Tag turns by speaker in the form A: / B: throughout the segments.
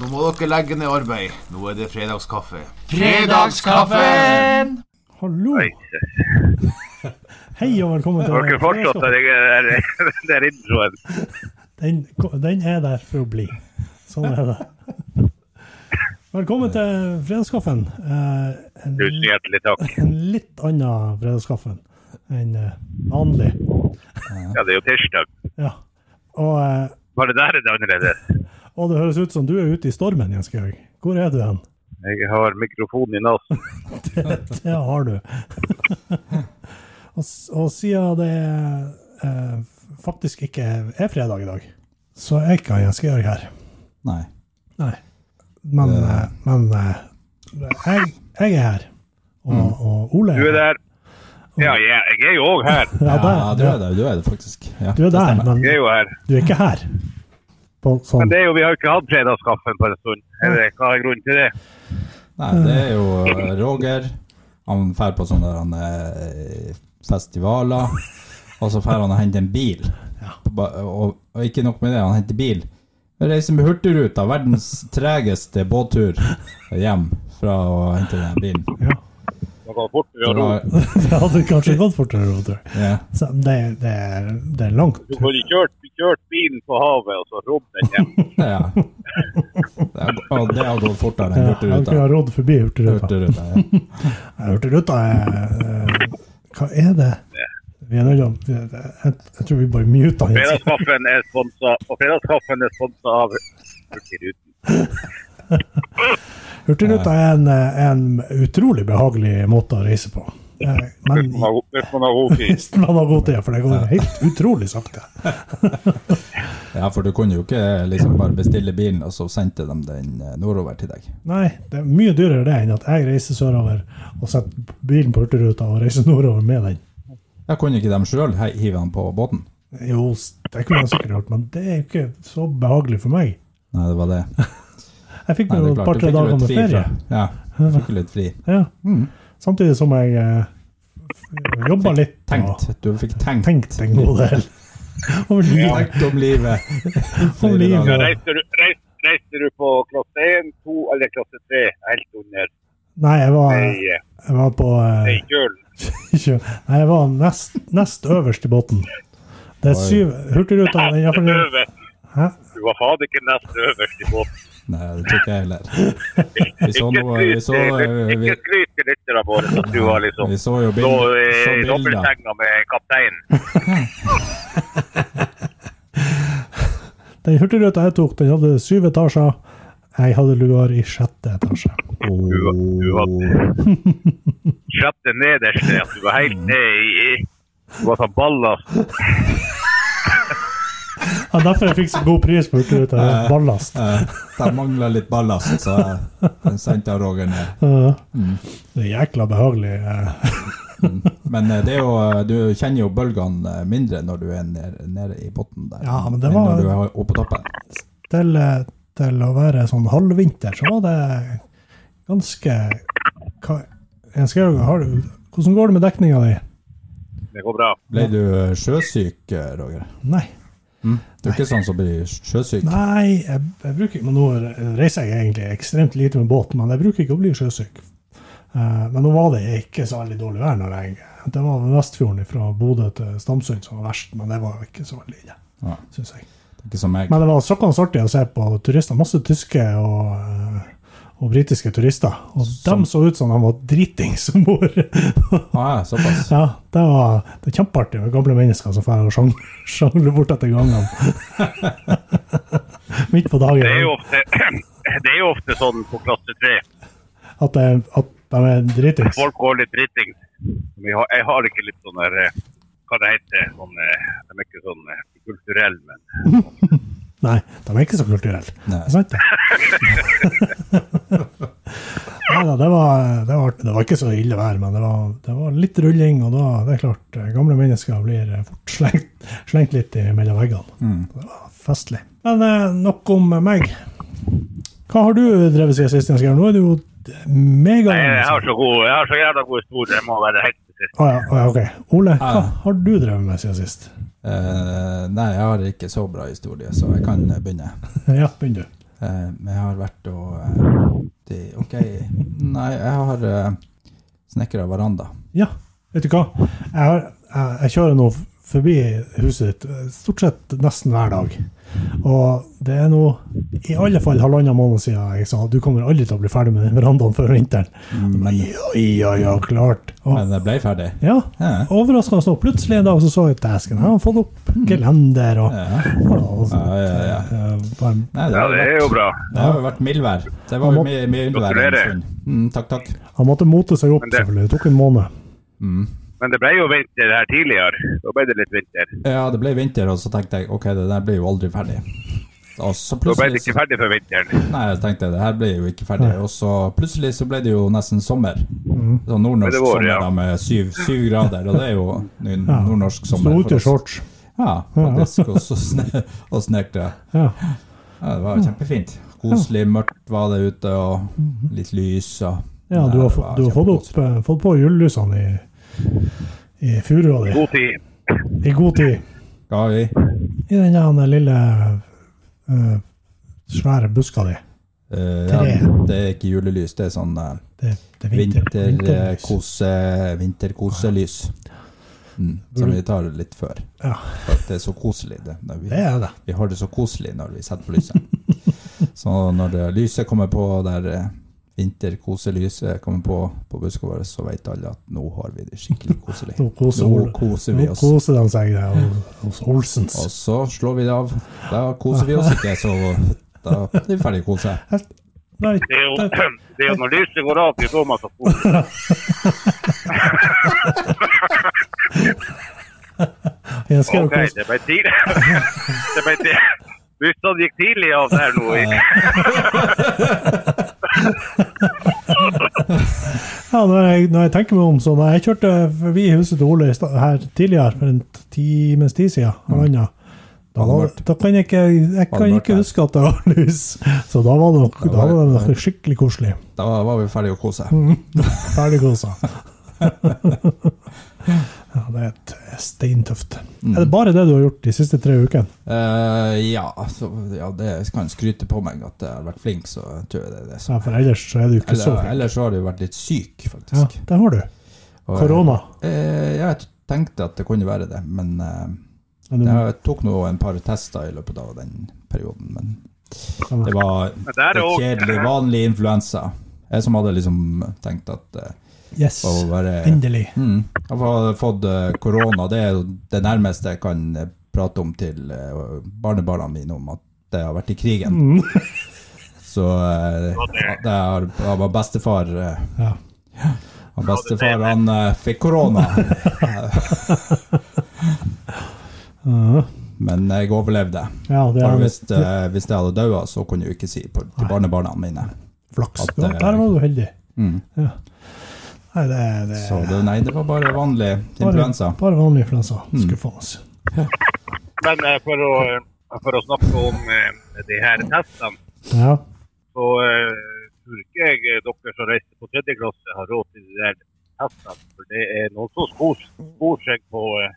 A: Nå må dere legge ned arbeid. Nå er det fredagskaffe.
B: Fredagskaffen!
C: Hallo. Hei og velkommen til
D: Dere fortsatte det der, der introen.
C: Den, den er der for å bli. Sånn er det. Velkommen til fredagskaffen. Eh, En,
D: Tusen hjertelig takk.
C: en litt annen fredagskaffen enn eh, vanlig.
D: Ja, det er jo tirsdag.
C: Ja. Og, eh,
D: Bare der er det annerledes.
C: og det høres ut som du er ute i stormen, Jens Georg. Hvor er du hen?
D: Jeg har mikrofonen i nesen.
C: Det har du. og, s- og siden det eh, faktisk ikke er fredag i dag, så er ikke Jens Georg her.
B: Nei.
C: Nei. Men, eh, men eh, jeg, jeg er her. Og,
B: Mm.
C: og Ole
D: Du er der. Ja, jeg, jeg er jo òg her.
C: Ja, der,
B: Ja, du er der, du er der faktisk. Ja,
C: Du er
B: det
C: der,
B: stemmer.
C: men
D: Jeg er jo her.
C: du er ikke her. På,
D: Men
C: sånn.
D: det er jo, vi har jo ikke hatt fredagskaffen på en stund. Er det, hva er grunnen til det?
B: Nei, det er jo eh, Roger. Han drar på sånne der, han, eh, festivaler, og så drar han og henter en bil. Ba- Og, og ikke nok med det, han henter bil. Han Reiser med Hurtigruta, verdens tregeste båttur hjem fra å hente den bilen.
C: Ja.
D: Nå går det fort, vi har ro.
B: Drar-
C: Det hadde kanskje gått fortere, tror jeg.
B: Ja.
C: Så det, det, er, det er langt.
D: Du får ikke kjørt, kjørt bilen på havet, og så rodd den hjem.
B: Ja. Det har, og det har gått fortere enn
C: Ja, jeg kunne ha
B: Hurtigruta.
C: rådd forbi Hurtigruta.
B: Hurtigruta, ja.
C: Nei, Hurtigruta er eh, Hva er det? Vi er nødt til å jeg, jeg tror vi bare muter han. Jens.
D: Fredagskaffen er sponsa, og fredagskaffen er sponset av Hurtigruten.
C: Hurtigruta er en, eh, en utrolig behagelig måte å reise på. Eh, Men
D: Man har god- Hvis man har god tid.
C: hvis man har god tid, for det går helt utrolig sakte.
B: ja, for du kunne jo ikke liksom bare bestille bilen, og så sendte de den eh, nordover til deg.
C: Nei, det er mye dyrere det enn at jeg reiser sørover og setter bilen på Hurtigruta og reiser nordover med den.
B: Jeg kunne ikke de sjøl hive den på båten.
C: Jo, s- det kunne jeg sikkert gjort, men det er jo ikke så behagelig for meg.
B: Nei, det var det.
C: Jeg fikk
B: Nei,
C: meg jo
B: det er
C: et
B: klart. Du
C: par-tre
B: fikk jo
C: dager
B: litt
C: med
B: fri fra.
C: ferie.
B: Ja, du fikk jo litt fri.
C: Ja. Samtidig som jeg eh, jobba litt. og
B: Tenkt. Du fikk tenkt.
C: Tenkt en god del. Over livet.
B: Tenkt om livet.
C: Om livet.
B: Ja,
D: Reiste du, reis- reiste du på klasse 1, 2 eller klasse 3 helt under
C: Nei, jeg var,
D: ei,
C: jeg var på eh,
D: ei kjøl?
C: Ikke- Nei, jeg var nest, nest øverst i båten. Det er syv Hurtigruta den er
D: Neste
C: iallfall-
D: øverst.
C: Hæ?
D: Du var faen ikke nest øverst i båten.
B: Nei, det tror ikke jeg heller. Vi så
D: Ikke
B: noe Vi
D: skryt
B: så, eh,
D: til-
B: vi,
D: ikke skryt til lytterne våre at du var liksom
B: vi så jo
D: lå
B: bilder. Så
D: i
B: bilder.
D: dobbeltsenga med kapteinen.
C: Den hurtigruta jeg tok, den hadde syv etasjer. Jeg hadde lugar i sjette etasje.
D: Du var- Sjette nederste, at du var helt ned i i- Du var sånn ballast.
C: Ja, derfor jeg fikk så god pris på hurtigruta. Ballast.
B: Eh, Der mangla litt ballast, så jeg sendte jeg Roger ned.
C: Ja. Det er jækla behagelig. eh.
B: Men eh, det er jo, eh, du kjenner jo bølgene eh, mindre når du er nede, nede i bunnen der,
C: Ja, men det
B: enn
C: var-
B: når du er oppe på toppen.
C: Til, eh, til å være sånn halvvinter, så var det ganske hva, Jens Georg, har du- hvordan går det med dekninga di?
D: Det går bra.
B: Ble du eh, sjøsyk, eh, Roger?
C: Nei.
B: Du er ikke sånn som blir sjøsyk?
C: Nei, jeg, jeg bruker ikke men Nå reiser jeg egentlig ekstremt lite med båt, men jeg bruker ikke å bli sjøsyk. Eh, men nå var det ikke så veldig dårlig vær. når jeg, Det var Vestfjorden fra Bodø til Stamsund som var verst, men det var ikke så veldig ille,
B: Ja.
C: synes jeg.
B: Ikke som meg.
C: Men det var såpass artig å se på turister. Masse tyske og, eh, og britiske turister. Og de så ut som de var dritings om bord.
B: Ah, ja, såpass.
C: ja, det var det er kjempeartig med gamle mennesker som drar og sjang- sjangler bort etter gangene. Midt på dagen.
D: Det er jo ofte, det er jo ofte sånn på klasse 3.
C: At, det, at de er dritings.
D: Folk går litt dritting. Vi har- Jeg har ikke litt sånn der eh, Hva det heter sånn, eh, De er ikke sånn eh, kulturelle, men
C: Nei, de er ikke så kulturelle.
B: Nei.
C: Det er sant, det. Nei da, det var, det, var, det var ikke så ille vær, men det var, det var litt rulling. Og da, det er klart, gamle mennesker blir fort slengt, slengt litt i mellom veggene. Det var festlig. Men eh, nok om meg. Hva har du drevet siden sist? Jens Geir? Nå er du jo mega
D: Nei, jeg har så god, jeg har så jævla god historie. Jeg må være helt til sist.
C: Å ja, å ja, ok. Ole, hva har du drevet med siden sist?
B: Eh, nei, jeg har ikke så bra historie, så jeg kan eh, begynne.
C: Ja, begynn du.
B: Eh, men jeg har vært og eh, de, Ok, nei, jeg har eh, snekra veranda.
C: Ja, vet du hva? Jeg, har, jeg, jeg kjører nå forbi huset ditt eh, stort sett nesten hver dag. Og det er nå i alle fall halvannen måned siden jeg sa du kommer aldri til å bli ferdig med den verandaen før vinteren. Men ja, ja, ja, klart. Og,
B: Men jeg ble ferdig.
C: ja,
B: Ja. Mm.
C: overraskende nok. Plutselig en dag så så jeg dæsken. Her har han fått opp gelender og,
B: Ja.
C: og, og
B: Ja, ja, ja.
C: eh, varm-
B: Nei, det,
D: Ja,
B: har
D: det
B: vært,
D: er jo bra.
B: det har jo vært mildvær. Det var jo mye, mye mildvær en
D: Gratulerer.
B: stund. Mm, takk, takk.
C: Han måtte mote seg opp,
D: Men det-
C: selvfølgelig. Det tok en måned.
D: Men det ble jo vinter her tidligere. Da ble det litt vinter.
B: Ja, det ble vinter, og så tenkte jeg ok, det der blir jo aldri ferdig. Og så
D: Da ble det
B: plutselig
D: ikke ferdig før vinteren.
B: Nei, jeg tenkte det her blir jo ikke ferdig. Og så plutselig så ble det jo nesten sommer.
C: Mhm.
B: Sånn nordnorsk
D: Det var
B: sommer
D: det, ja.
B: da, med syv, syv grader, og det er jo ny- nordnorsk
C: Sto
B: sommer.
C: ute i shorts.
B: Ja, faktisk. Og så sne, og snekra.
C: Ja.
B: Ja, det var jo kjempefint. Koselig, mørkt var det ute, og litt lys og
C: Mhm. Ja, du har,
B: Nei, det
C: fått-
B: var
C: du har fått, opp,
B: kjempekoselig.
C: eh, fått på julelysene i, i furua di
D: God tid.
C: i god tid.
B: Ja, vi-
C: I den der lille eh, svære buska di.
B: eh, ja, det er ikke julelys, det er sånn eh,
C: Det, det er vinter. vinterlys.
B: vinterkose, eh, vinterkoselys. Mm, som vi tar litt før.
C: Ja,
B: For at det er så koselig. Det, når vi,
C: det er det.
B: Vi har det så koselig når vi setter på lyset. Så når det lyset kommer på, der eh, vinterkoselyset kommer på på busken vår, så vet alle at nå har vi det skikkelig koselig.
C: Nå koser,
B: Nå koser vi
C: Nå
B: oss.
C: koser de seg der hos- hos Olsens.
B: Og så slår vi det av. Da koser vi oss ikke, så da er vi ferdig å kose.
C: Nei,
D: Det er jo, det er jo når lyset går av, det er da man skal kose.
C: jeg skal jo
D: Ok,
C: kose.
D: det ble tidlig. Det ble tidlig. Bussene gikk tidlig av der nå.
C: Ja, når, jeg, når jeg tenker meg om, så da jeg kjørte forbi huset til Ole i sta- her tidligere, for en times tid siden,
B: Mm.
C: halvannen, da,
B: Var det
C: var-
B: mørkt?
C: da kan jeg ikke, jeg
B: det
C: kan
B: mørkt
C: ikke
B: her?
C: huske at det var lys. Så da var det, nok,
B: Da
C: da
B: var
C: var det
B: det-
C: nok skikkelig koselig.
B: Da var vi ferdig å kose.
C: Ferdig kosa. Ja, det er et eh, steintøft.
B: Mm.
C: Er det bare det du har gjort de siste tre ukene?
B: Eh, ja, så, ja, det kan jeg skryte på meg at jeg har vært flink, så tror jeg det er det. som-
C: Ja, for ellers så er du ikke så
B: Eller,
C: flink.
B: ellers så har jeg jo vært litt syk,
C: Ja,
B: faktisk.
C: det har du.
B: Og-
C: Korona.
B: Eh, ja, jeg tenkte at det kunne være det, men eh,
C: Men du-
B: jeg tok nå en par tester i løpet av den perioden. Men det var
D: der er
B: det
D: også-
B: kjedelig, vanlig influensa. Jeg som hadde liksom tenkt at eh,
C: Yes,
B: å være
C: endelig.
B: mm, Jeg har fått eh, korona, det er jo det nærmeste jeg kan eh, prate om til eh, barnebarna mine om at det har vært i krigen.
C: Mm.
B: Så eh, det er, jeg var bestefar eh,
C: Ja.
B: og Bestefar han eh, fikk korona. Men jeg overlevde.
C: Ja, det
B: Bare
C: er
B: hvis, eh, hvis jeg hadde daua, så kunne jeg jo ikke si på, til barnebarna mine.
C: flaks.
B: at,
C: Ja,
B: eh, Mm.
C: der var du heldig. Ja. Nei, det, er- det
B: Så det, nei, det var bare vanlig
C: Bare-
B: influensa. Mm.
C: Bare vanlig influensa. Skuffende.
D: Men eh, for å, for å snakke om eh, de her testene,
C: Ja.
D: så eh, tror ikke jeg eh, dere som reiser på tredje klasse har råd til de der testene. For det er noen som skor, skor seg på, eh,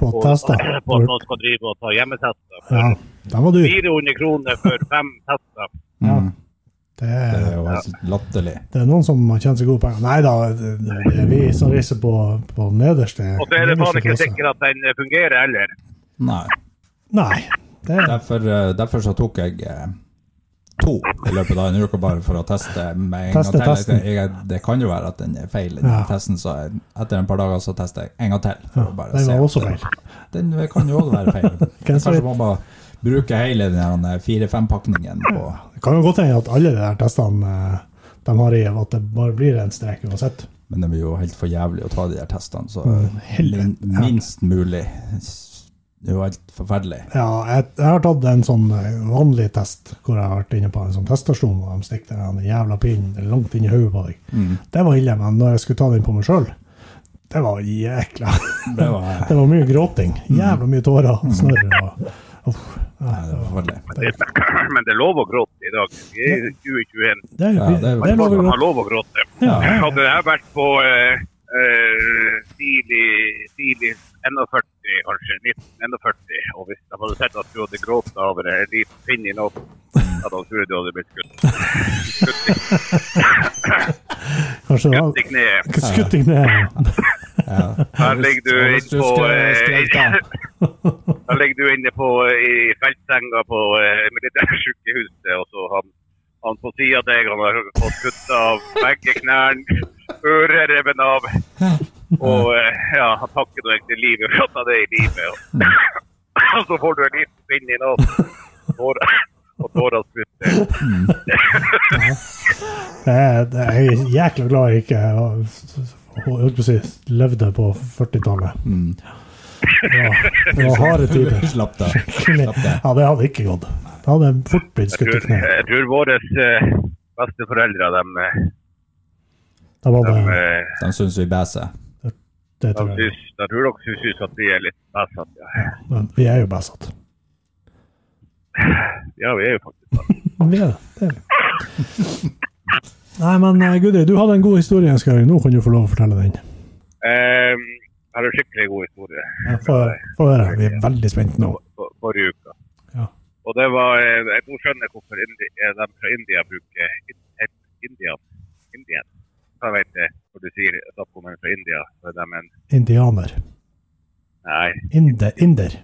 C: På
D: på,
C: tester.
D: på at man skal drive og ta hjemmetester.
C: Ja. Den var dyr.
D: 400 kroner for fem tester.
C: Ja.
B: Mm.
C: Det er,
B: Det er jo helt latterlig.
C: det er noen som har tjent seg gode penger. Nei da, det, det er vi som reiser på, på nederste
D: Og så er det faen
C: nederste
D: ikke
C: klasse.
D: sikkert at den eh, fungerer heller.
B: Nei.
C: Nei. Det er,
B: Derfor, eh, derfor så tok jeg eh, to i løpet av en uke, bare for å teste med en
C: Teste
B: gang til.
C: testen.
B: Jeg, jeg, det kan jo være at den er feil, den
C: Ja.
B: testen, så jeg, etter en par dager så tester jeg en gang til.
C: ja,
B: for å bare
C: den
B: se
C: var
B: at
C: også
B: det-
C: feil.
B: Den eh, kan jo også være feil.
C: Hvem som
B: Kanskje
C: vet?
B: man bare bruker hele den her fire-fem-pakningen på
C: Det kan jo godt hende at alle de der testene eh, de har i, at det bare blir en strek uansett.
B: Men det blir jo helt for jævlig å ta de der testene, så
C: Mm, helvete.
B: min, minst mulig. Det er jo helt forferdelig.
C: Ja, jeg, jeg har tatt en sånn eh, vanlig test hvor jeg har vært inne på en sånn teststasjon og de stikker den jævla pinnen langt inn i hodet på deg.
B: Mm.
C: Det var ille, men når jeg skulle ta den på meg sjøl, det var jækla
B: Det var,
C: Det var mye gråting.
B: Mm.
C: Jævla mye tårer. og Snørr og Uff.
B: nei, det var forferdelig.
D: Men det er lov å gråte i dag. Vi er i 2021.
C: Det er,
B: Ja, det er-
C: det er lov å
D: Man har
C: gråte.
D: lov å gråte.
B: Ja.
D: Hadde jeg vært på eh, eh, tidlig, tidlig 41, kanskje 1941, og hvis de hadde sett at du hadde grått av en liten pinn i natten, at han trodde du hadde blitt skutt.
C: Kanskje det
D: Skutt
C: var
D: i kneet.
C: Skutt i kneet.
B: Ja.
D: Her ligger du
B: Og hvis
D: inne på,
B: skrev- skrev
D: eh,
B: da.
D: her ligger du inne på eh, i feltsenga på eh, militærsykehuset, og så han, han på sida av deg han har fått kutta av begge knærne, øret er revet av, og eh, ja, han takker deg til livet for at han er i live. og- Og så får du en liten pinne i nasen, tårer- og tårene sprutter.
C: Det er- det er- Jeg er jækla glad jeg ikke har- holdt på å si, levde på 40-tallet.
B: Mm.
C: Det var, det var harde tider.
B: Slapp deg.
C: Ja, det hadde ikke gått. Det hadde fort blitt skutt i
D: Jeg tror,
C: kneet.
D: jeg tror våre eh, besteforeldre, de, eh,
C: Da var
D: de,
C: det,
D: eh,
B: De syns vi bæser.
C: det
D: de
C: tror jeg.
D: syns, jeg tror dere syns at vi er litt bæsete. Ja.
C: Men vi er jo bæsete.
D: ja, vi er jo faktisk det.
C: Vi er det. det er vi. Nei, men eh, Gudrid, du hadde en god historie, Skaug. Nå kan du få lov å fortelle den.
D: Eh, Her er en skikkelig god historie
C: Ja, Få få høre. Vi er veldig spent nå.
D: for- for- forrige uke.
C: Ja.
D: Og det var eh, Jeg nå skjønner jeg hvorfor indi, eh, de fra India bruker in- India. Indien. Jeg vet det, når du sier snakker om en fra India, så er de en
C: Indianer.
D: Nei,
C: Inde, inder.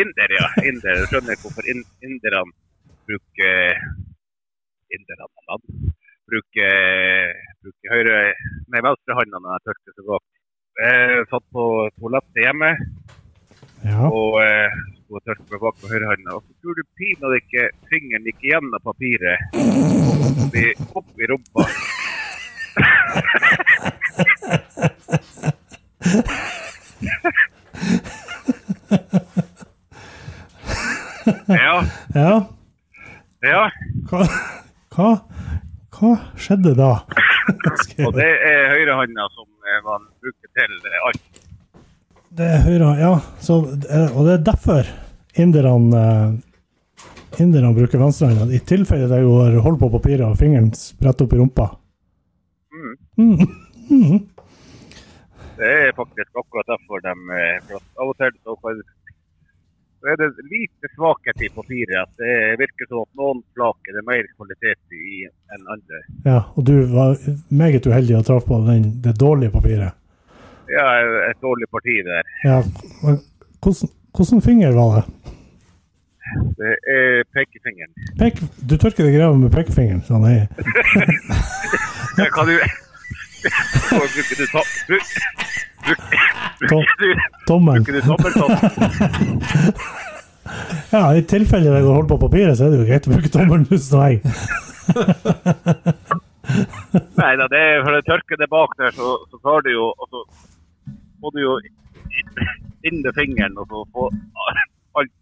D: inder, ja. Inder. Jeg skjønner hvorfor in, inderne bruker Inderne land bruker, bruker høyre Nei, venstrehånda når jeg tørker så godt. Jeg satt på toalettet hjemme
C: Ja.
D: og eh, skulle tørke meg bak med høyrehånda. Og så tror du pinadø ikke fingeren gikk gjennom papiret og opp i, opp i rumpa. Ja,
C: ja.
D: ja.
C: Hva, hva, hva skjedde da?
D: Og det er høyrehånda som eh, man bruker til eh, alt.
C: Det er høyre, ja. Så, eh, og det er derfor inderne eh, Inderne bruker venstrehånda i tilfelle de går holder på papiret og fingeren spretter opp i rumpa.
D: Mm.
C: Mm.
D: Det er faktisk akkurat derfor de eh, for at Av og til så kan så er det lite svakhet i papiret. at Det virker som at noen flak er det mer kvalitet i enn andre.
C: Ja, og du var meget uheldig og traff på den, det dårlige papiret.
D: Ja, et dårlig parti der.
C: Ja, men hvordan, hvordan finger var det?
D: Det er pekefingeren.
C: Pek, du tørker deg i ræva med pekefingeren. Sånn, hei.
D: Kan du Så Bruker du ta- bru-
C: Tom,
D: bruker du-
C: tommelen.
D: bruker du sånn? tommeltott?
C: Ja, I tilfelle det går hold på papiret, så er det jo greit å bruke tommelen. hvis det er jeg.
D: Nei da, det er for å tørke det bak der, så, så tar du jo Og så får du jo inn med fingeren, og så får alt,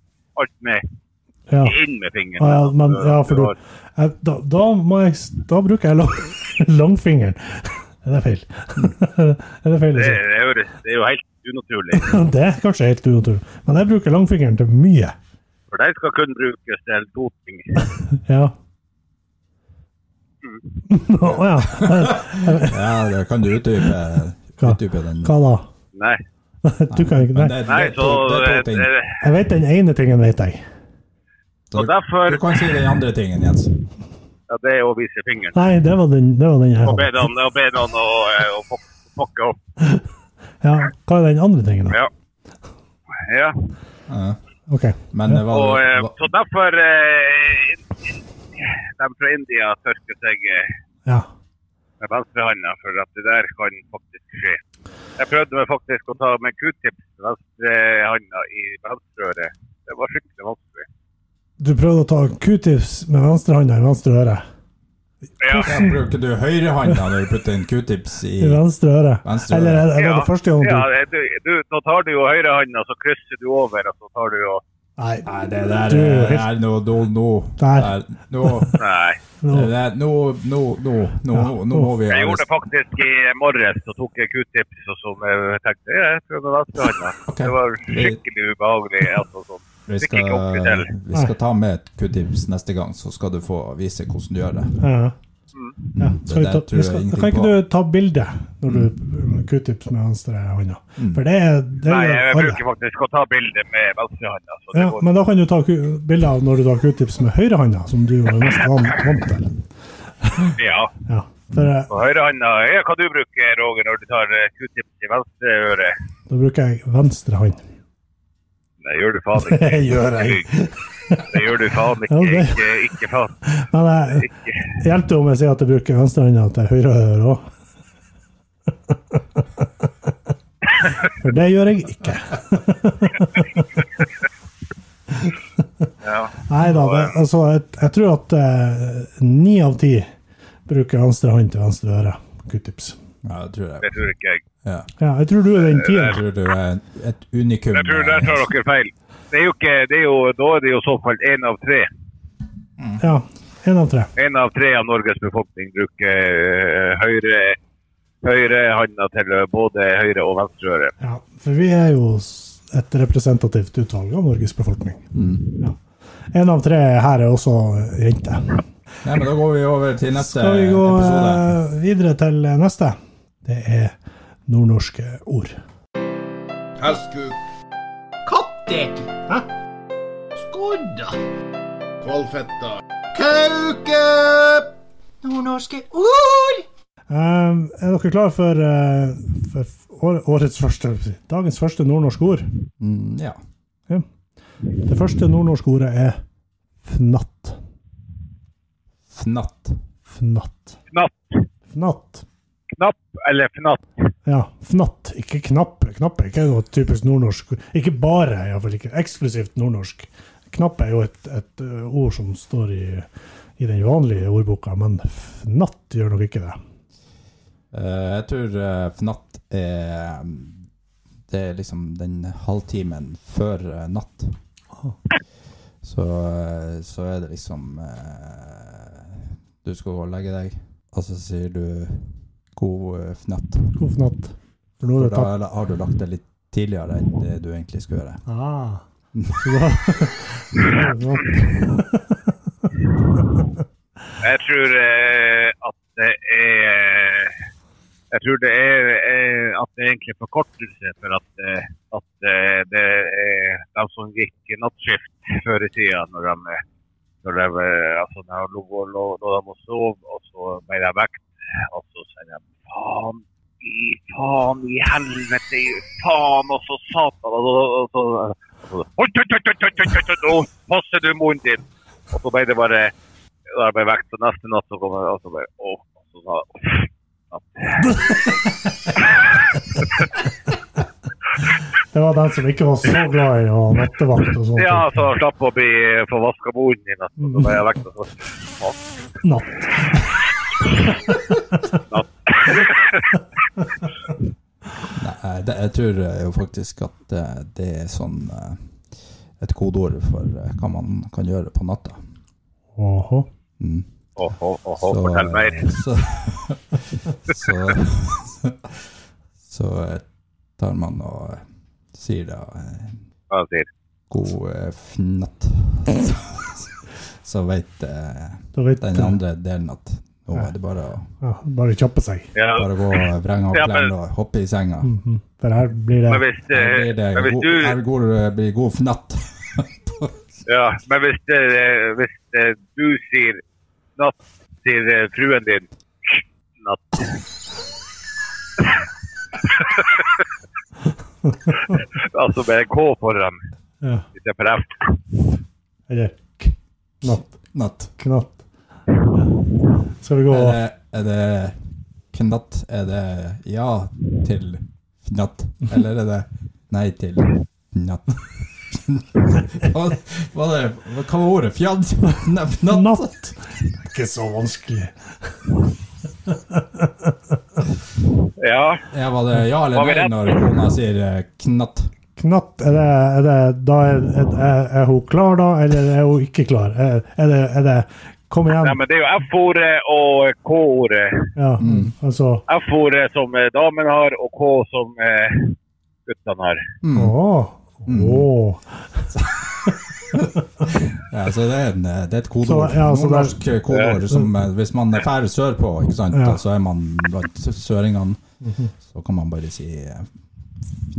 D: alt med
C: Ja.
D: inn med fingeren.
C: Ah, ja, men, ja, for du,
D: har-
C: jeg, da, da, må jeg, s- da bruker jeg lang, langfingeren. Er det feil? er det feil? å
D: Det,
C: si?
D: det, høres, det er jo helt unaturlig.
C: Det er kanskje helt unaturlig. Men jeg bruker langfingeren til mye.
D: For den skal kun brukes til to ting.
C: Ja.
D: Mm.
C: Å ja.
B: Ja, det kan du utdype,
C: Hva?
B: utdype den.
C: Hva da?
D: Nei,
C: Du kan ikke
B: Men
C: Nei.
B: det-
D: nei
B: det er
D: så
B: to- det er to ting.
D: eh, eh,
C: Jeg vet den ene tingen, vet jeg.
D: Og derfor
B: Du kan si den andre tingen, Jens.
D: ja, Det er å vise fingeren.
C: Nei, det var den, det var den jeg
D: Og be
C: hadde.
D: noen, og be noen å, eh, å fuck- fucke opp.
C: Ja, hva er den andre tingen, da?
D: Ja. ja.
B: Ja.
C: OK.
B: Men det var,
D: Og, eh,
B: var
D: så derfor eh, De fra India tørker seg eh,
C: Ja.
D: med venstrehånda, for at det der kan faktisk skje. Jeg prøvde meg faktisk å ta med q-tips med venstrehånda i venstreøret. Det var skikkelig vanskelig.
C: Du prøvde å ta q-tips med venstrehånda i venstre øre.
D: Ja.
B: ja, Bruker du høyrehånda når du putter en q-tips i
C: I venstre øre.
B: Venstre øre.
C: Eller er det- er det det første gangen
D: ja,
C: du
D: du, du, nå tar du jo høyrehånda, så krysser du over, og så tar du jo
C: Nei,
B: Nei, det der eh,
C: Du,
B: er,
C: helt-
B: er noe Nå Nå
C: Der.
B: der, Nå
D: Nei.
B: det
C: nå.
B: der- nå, nå, nå, nå,
C: Ja.
B: nå må vi
D: Jeg gjorde det faktisk i morges, så tok jeg q-tips, og så jeg tenkte jeg prøvde venstrehånda.
B: Ok.
D: Det var skikkelig ubehagelig. Altså, sånn.
B: Vi
D: fikk ikke opp det
B: skal,
D: selv.
B: vi skal ta med et q-tips neste gang, så skal du få vise hvordan du gjør det.
C: Ja. Ja, skal vi
B: Mm. der
C: ta,
B: tror
C: vi
B: jeg
C: skal,
B: ingenting
C: kan ikke
B: på. Mm.
C: du ta bilde når du q-tips med venstre hånda? For det er det
D: Nei,
C: gjør
D: jeg
C: alle.
D: bruker faktisk å ta bilde med venstrehånda. så det
C: Ja,
D: går-
C: men da kan du ta ku- bilder av når du tar q-tips med høyrehånda, som du jo er mest van- vant til.
D: Ja.
C: Ja, for eh,
D: På høyrehånda er hva du bruker, Roger, når du tar eh, q-tips i venstre øre.
C: da bruker jeg venstre hånd.
D: Det gjør du faen ikke.
C: Det gjør jeg.
D: Det gjør du faen ikke.
C: Ja, det-
D: Ikke, ikke faen.
C: Men eh,
D: Ikke.
C: hjelper det om jeg sier at jeg bruker venstrehånda til høyre øre òg? For det gjør jeg ikke.
D: Ja.
C: Nei da, det, altså, jeg, jeg tror at eh, ni av ti bruker venstre hånd til venstre øre. Q-tips.
B: Ja, jeg tror
D: Det
B: det.
D: tror ikke jeg.
B: Ja.
C: Ja, jeg tror du er den
B: Jeg
C: tieren.
B: tror du er et unikum. eh,
D: Jeg tror der tar dere feil. Det er jo ikke, det er jo, da er det jo såkalt én av tre.
C: Ja, én av tre.
D: Én av tre av Norges befolkning bruker eh, høyre høyrehånda til både høyre og venstre øre.
C: Ja, for vi er jo s- et representativt utvalg av Norges befolkning. Ja. En av tre her er også jente.
B: Nei, men da går vi over til neste
C: Skal vi gå
B: episode.
C: eh, videre til neste? Det er nordnorske ord.
A: Hestkuk. Katter. Hæ? Skodda. Kvalfetta. Kauke. Nordnorske ord.
C: Um, er dere klare for, eh, for f- år- årets første, dagens første nordnorske ord?
B: Mm, ja.
C: Ja. Det første nordnorske ordet er fnatt.
B: Fnatt.
C: Fnatt.
D: Fnatt.
C: Fnatt.
D: Knapp eller fnatt.
C: Ja, fnatt. Ikke knapp. Knapp er ikke noe typisk nordnorsk. Ikke bare, iallfall ikke eksklusivt nordnorsk. Knapp er jo et, et ø, ord som står i, i den vanlige ordboka, men fnatt gjør nok ikke det.
B: Eh, jeg tror eh, fnatt er Det er liksom den halvtimen før eh, natt. Så, eh, så er det liksom eh, Du skal gå og legge deg, og så sier du god eh, fnatt.
C: God fnatt. For nå er
B: For
C: det tatt.
B: da har du lagt deg litt tidligere enn det du egentlig skulle gjøre.
C: Ah. Så da,
D: Jeg tror eh, at det er Jeg tror det er eh, at det er egentlig er forkortelse for at, eh, at eh, det er de som gikk nattskift før i tida, når de, når de, eh, altså, når de, lå, lå, lå de og sov, og så ble de vekt, og så sier de faen. I faen i helvete, i faen og så satan og så- og så og så- Oi, oi, oi, oi, oi, oi, oi, Nå passer du munnen din! Og så ble det bare da jeg ble vekt, så neste natt så kom jeg og så bare Åh, og så sa jeg «Uff».
C: det var den som ikke var så glad i å ha nattevakt og sånt.
D: Ja, altså. så slapp å bli få vaska munnen i natt. Og altså. så ble jeg vekt, og så Faen,
C: Natt.
B: Nei, det, jeg tror eh, jo faktisk at eh, det er sånn eh, et kodeord for eh, hva man kan gjøre på natta.
C: Åhå.
B: Mm.
D: åh, åh, åh, åh, fortell mer.
B: Så, så, så, så eh, tar man og sier da eh,
D: Hva jeg sier.
B: god eh, fnatt. Så veit eh,
C: Da vet
B: den andre delen at nå er det bare å
C: Ja, bare kjappe seg.
D: Ja,
B: bare gå og vrenge opp
D: Ja, men-
B: klærne og hoppe i senga.
C: Mhm. For her blir
D: men
C: det
D: hvis,
B: Her
D: eh,
B: blir det
D: men hvis
B: god,
D: du
B: her går det blir god fnatt.
D: Ja, men hvis, eh, hvis eh, du sier natt, sier eh, fruen din natt. altså med en K foran
C: ja.
D: istedenfor F.
C: Eller k- natt.
B: Natt.
C: Knatt. Skal vi gå
B: Er det, er det knatt? Er det ja til fnatt? Eller er det nei til fnatt? Hva, hva, er det, hva var ordet? Fjadd? Nei, Fnatt?
C: Natt! Det er ikke så vanskelig.
D: Ja.
B: Ja, var det ja
D: Var
B: eller
D: vi
B: nei
D: rett?
B: når kona sier eh, knatt?
C: Knatt, er det, er det da er, er, er, er hun klar, da, eller er hun ikke klar? Er, er, det, er det Kom igjen.
D: Nei, men det er jo F-ordet og eh, K-ordet.
C: Ja, altså
D: F-ordet som eh, damen har, og K som eh,
C: Mm.
D: guttene har.
C: Å! Å!
B: Ja, så det er, en, eh, det er et kodeord.
C: Så, ja, så det er-
B: Nordnorsk eh, kodeord som eh, hvis man drar sørpå, ikke sant,
C: Ja.
B: og så er man blant søringene, så kan man bare si eh,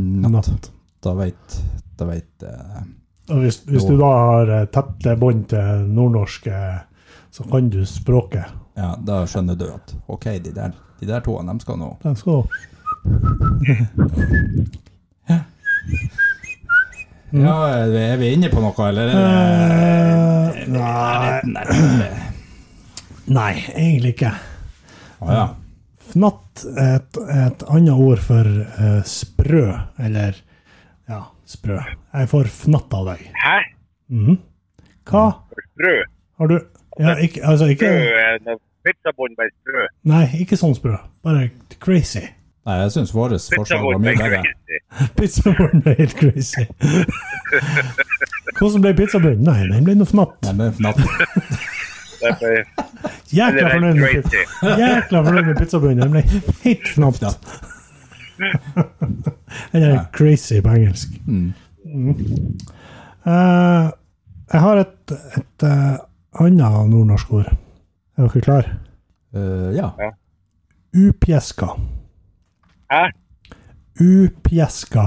B: natt.
C: Natt.
B: Da veit Da veit eh,
C: Og hvis, hvis du da har eh, tette bånd til nordnorsk, eh, så kan du språket.
B: Ja, da skjønner du at OK, de der, de der to, dem skal nå
C: Den skal
B: Ja, er vi inne på noe, eller? er
C: Eh,
B: det-
C: nei,
B: Nei.
C: nei, egentlig ikke.
B: Å ja.
C: Fnatt er et, et annet ord for eh, sprø, eller ja, sprø. Jeg får fnatt av deg.
D: Hæ?
C: Mhm. Hva
D: Sprø?
C: har du ja, ikke, altså ikke,
D: Sprø er noe pizzabånd med sprø.
C: Nei, ikke sånn sprø. Bare crazy.
B: Nei, jeg syns vårt forslag var
D: Pizzabånd
B: mye
D: med
B: bedre.
D: crazy.
C: Pizzabunnen ble helt crazy. Hvordan ble pizzabunnen? Nei, den ble noe fnatt.
B: Nei, men fnatt.
D: Det er bare- det
C: Jækla
D: er
C: fornøyd med pizza.
D: crazy.
C: Jækla fornøyd med pizzabunnen. Den ble helt fnatt. Den er crazy på engelsk. Mm. Eh, jeg har et, et eh, annet nordnorsk ord. Er dere klar?
B: Eh, ja.
C: Upjeska.
D: Hæ?
C: Upjeska.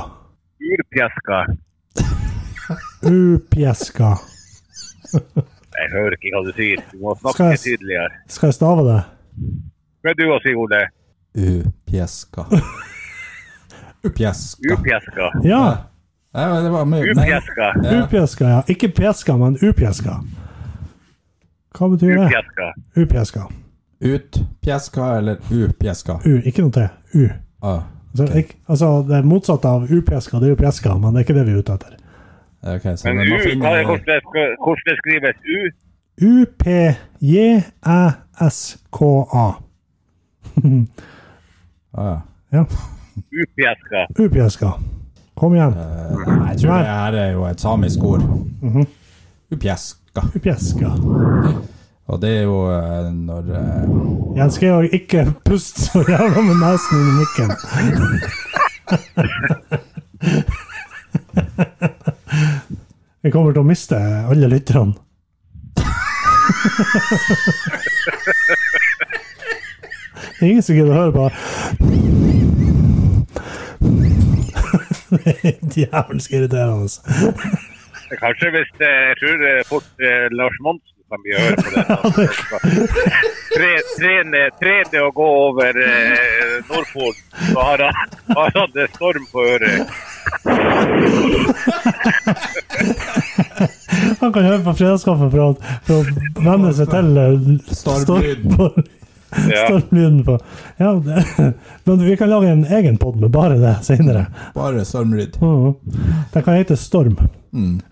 D: Urpjaska.
C: Upjeska.
D: Jeg hører ikke hva du sier. Du må
C: Skal
D: snakke
C: jeg s-
D: tydeligere.
C: Skal jeg stave det?
D: Hva er du å si, Ole?
B: Upjeska. Upjeska.
D: Upjaska.
C: Ja.
B: Nei, men det var mye nei.
D: Upjaska.
B: Ja.
C: Upjeska, ja. Ikke pjeska, men upjeska. Hva betyr det?
D: Upjaska.
C: Upjeska.
B: Utpjeska eller upjeska?
C: U, ikke noe til. U.
B: Ah,
C: Altså,
B: Ok.
C: ikk- altså det motsatte av upjeska, det er jo pjeska, men det er ikke det vi er ute etter.
B: ok, så
D: Men
B: det
D: u,
B: må finne
D: hva er hvordan sk- hvordan skrives u?
C: U-p-j-æ-s-k-a.
B: Ah, ja.
C: Ja.
D: Upjaska.
C: Upjeska. Kom igjen.
B: Eh, Nei, jeg tror det Mm-hmm. her er jo et samisk ord. Upjeska.
C: Upjeska.
B: Og det er jo eh, når eh,
C: Jens Georg, ikke pust så jævla med nesen inn i mikken. Vi kommer til å miste alle lytterne. Det er ingen som gidder å høre på. Det er djevelsk irriterende. altså.
D: Kanskje hvis eh, Jeg tror eh, fort eh, Lars Monsen kan bli å høre på det. Tre, trene, trene å gå over eh, Nordpolen, så har han, har han det storm på øret.
C: Han kan høre på fredagskaffen for å, for å venne seg til eh,
B: Stormlyden.
C: storm-
D: Ja.
C: Stormlyden på. Ja, det, men vi kan lage en egen pod med bare det senere.
B: Bare stormryd.
C: Mhm. Den kan hete Storm.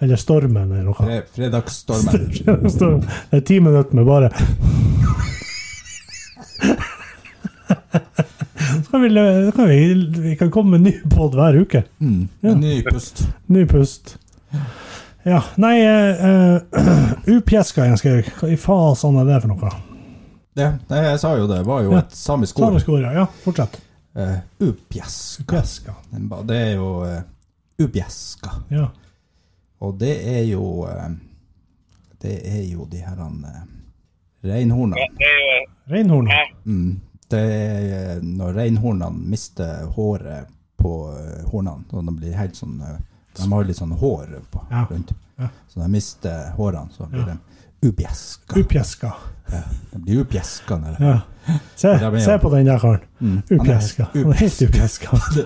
C: Eller Stormen, eller noe.
B: Fre- Fredagsstormen.
C: Storm. Det er ti minutter med bare Så kan vi, le- kan vi, vi kan komme med ny pod hver uke.
B: Mm. En ny pust.
C: Ny pust. Ja. Nei, eh, eh, upjeska, Jens Georg. Hva i faen er det for noe?
B: Det, nei, jeg sa jo det. Det var jo et samisk ord.
C: Samisk ord, ja. Ja, Fortsett.
B: Eh, upjeska.
C: Pjeska.
B: Den ba- Det er jo eh, upjeska.
C: Ja.
B: Og det er jo eh, Det er jo de her eh, reinhornene.
D: Det er jo
C: Reinhorn.
B: Mm. Det er eh, når reinhornene mister håret på eh, hornene, så de blir helt sånn eh, De har litt sånn hår på,
C: Ja.
B: rundt.
C: Ja.
B: Så de mister hårene, så blir de upjeska.
C: Upjeska.
B: De blir upjeska når
C: Ja. Se,
B: Der blir
C: se
B: han.
C: på den der karen.
B: Mm.
C: Upjeska.
B: Han er
C: Han er helt upjeska.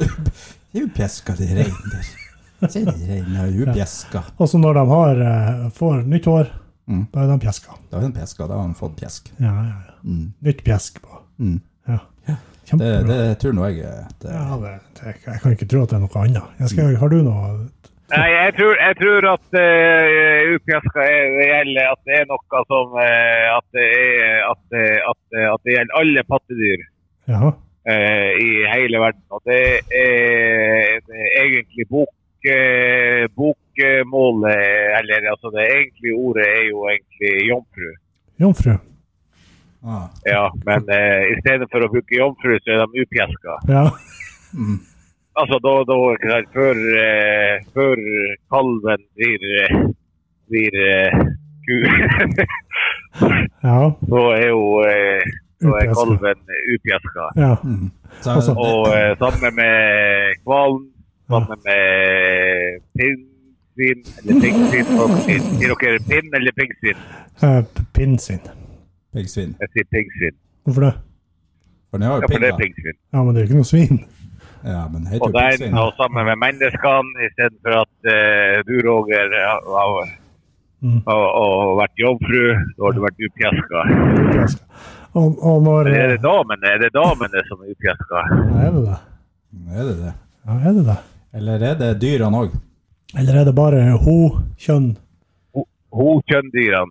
B: Det er upjeska, de rein der. Se, de reinen er upjeska.
C: Og så når de har, eh, får nytt hår,
B: Mm.
C: da er de pjeska.
B: Da er han pjeska, da har han fått pjesk.
C: Ja, ja, ja. Nytt pjesk på.
B: Mm.
C: Ja.
B: Det,
C: Kjempebra.
B: det tror nå jeg er at eh,
C: Ja, det, det, jeg kan ikke tro at det er noe annet. Jeg skal, har du noe
D: Nei, jeg tror, jeg tror at uh, upjaska er det gjelder at det er noe som eh, at, det er, at, det- at, det- at det gjelder alle pattedyr
C: Ja.
D: eh, i hele verden. Og det er, det er egentlig bok, eh, bokmålet Eller altså det egentlige ordet er jo egentlig jomfru.
C: Jomfru.
B: ah.
D: Ja, men eh, i stedet for å bruke jomfru, så er de upjaska.
C: Ja.
D: Altså, da, da ikke sant, før, eh, før kalven blir, eh, blir eh, ku,
C: Ja.
D: så er jo eh, så er
C: Upjaska.
D: kalven upjaska.
C: ja.
B: Mm. Så,
C: Altså-
D: Og eh, sammen med hvalen, sammen med pinnsvin eller pinnsvin og pin- Sier dere pinn eller pinnsvin?
C: Eh, p- Pinnen sin.
B: Piggsvin.
D: Jeg sier pinnsvin.
C: Hvorfor det?
B: For den har
D: Ja,
B: jo
D: for det er
B: pigger.
D: pinnsvin.
C: Ja, men det er jo ikke noe svin.
B: Ja, men den
D: Og
B: heter jo
D: der
B: piggsvin.
D: og sammen med menneskene, istedenfor at eh, du, Roger, har, har,
C: Mm.
D: har, har vært jobbfru, så har du vært upjaska.
C: Upjaska. Og, og når
D: Men er
C: eh,
D: det damene, er det damene som er upjaska?
C: ja, Er det det?
B: Er det det?
C: Ja, er det det?
B: Eller er det dyrene òg?
C: Eller er det bare ho-kjønn
D: Ho- Ho-kjønndyrene.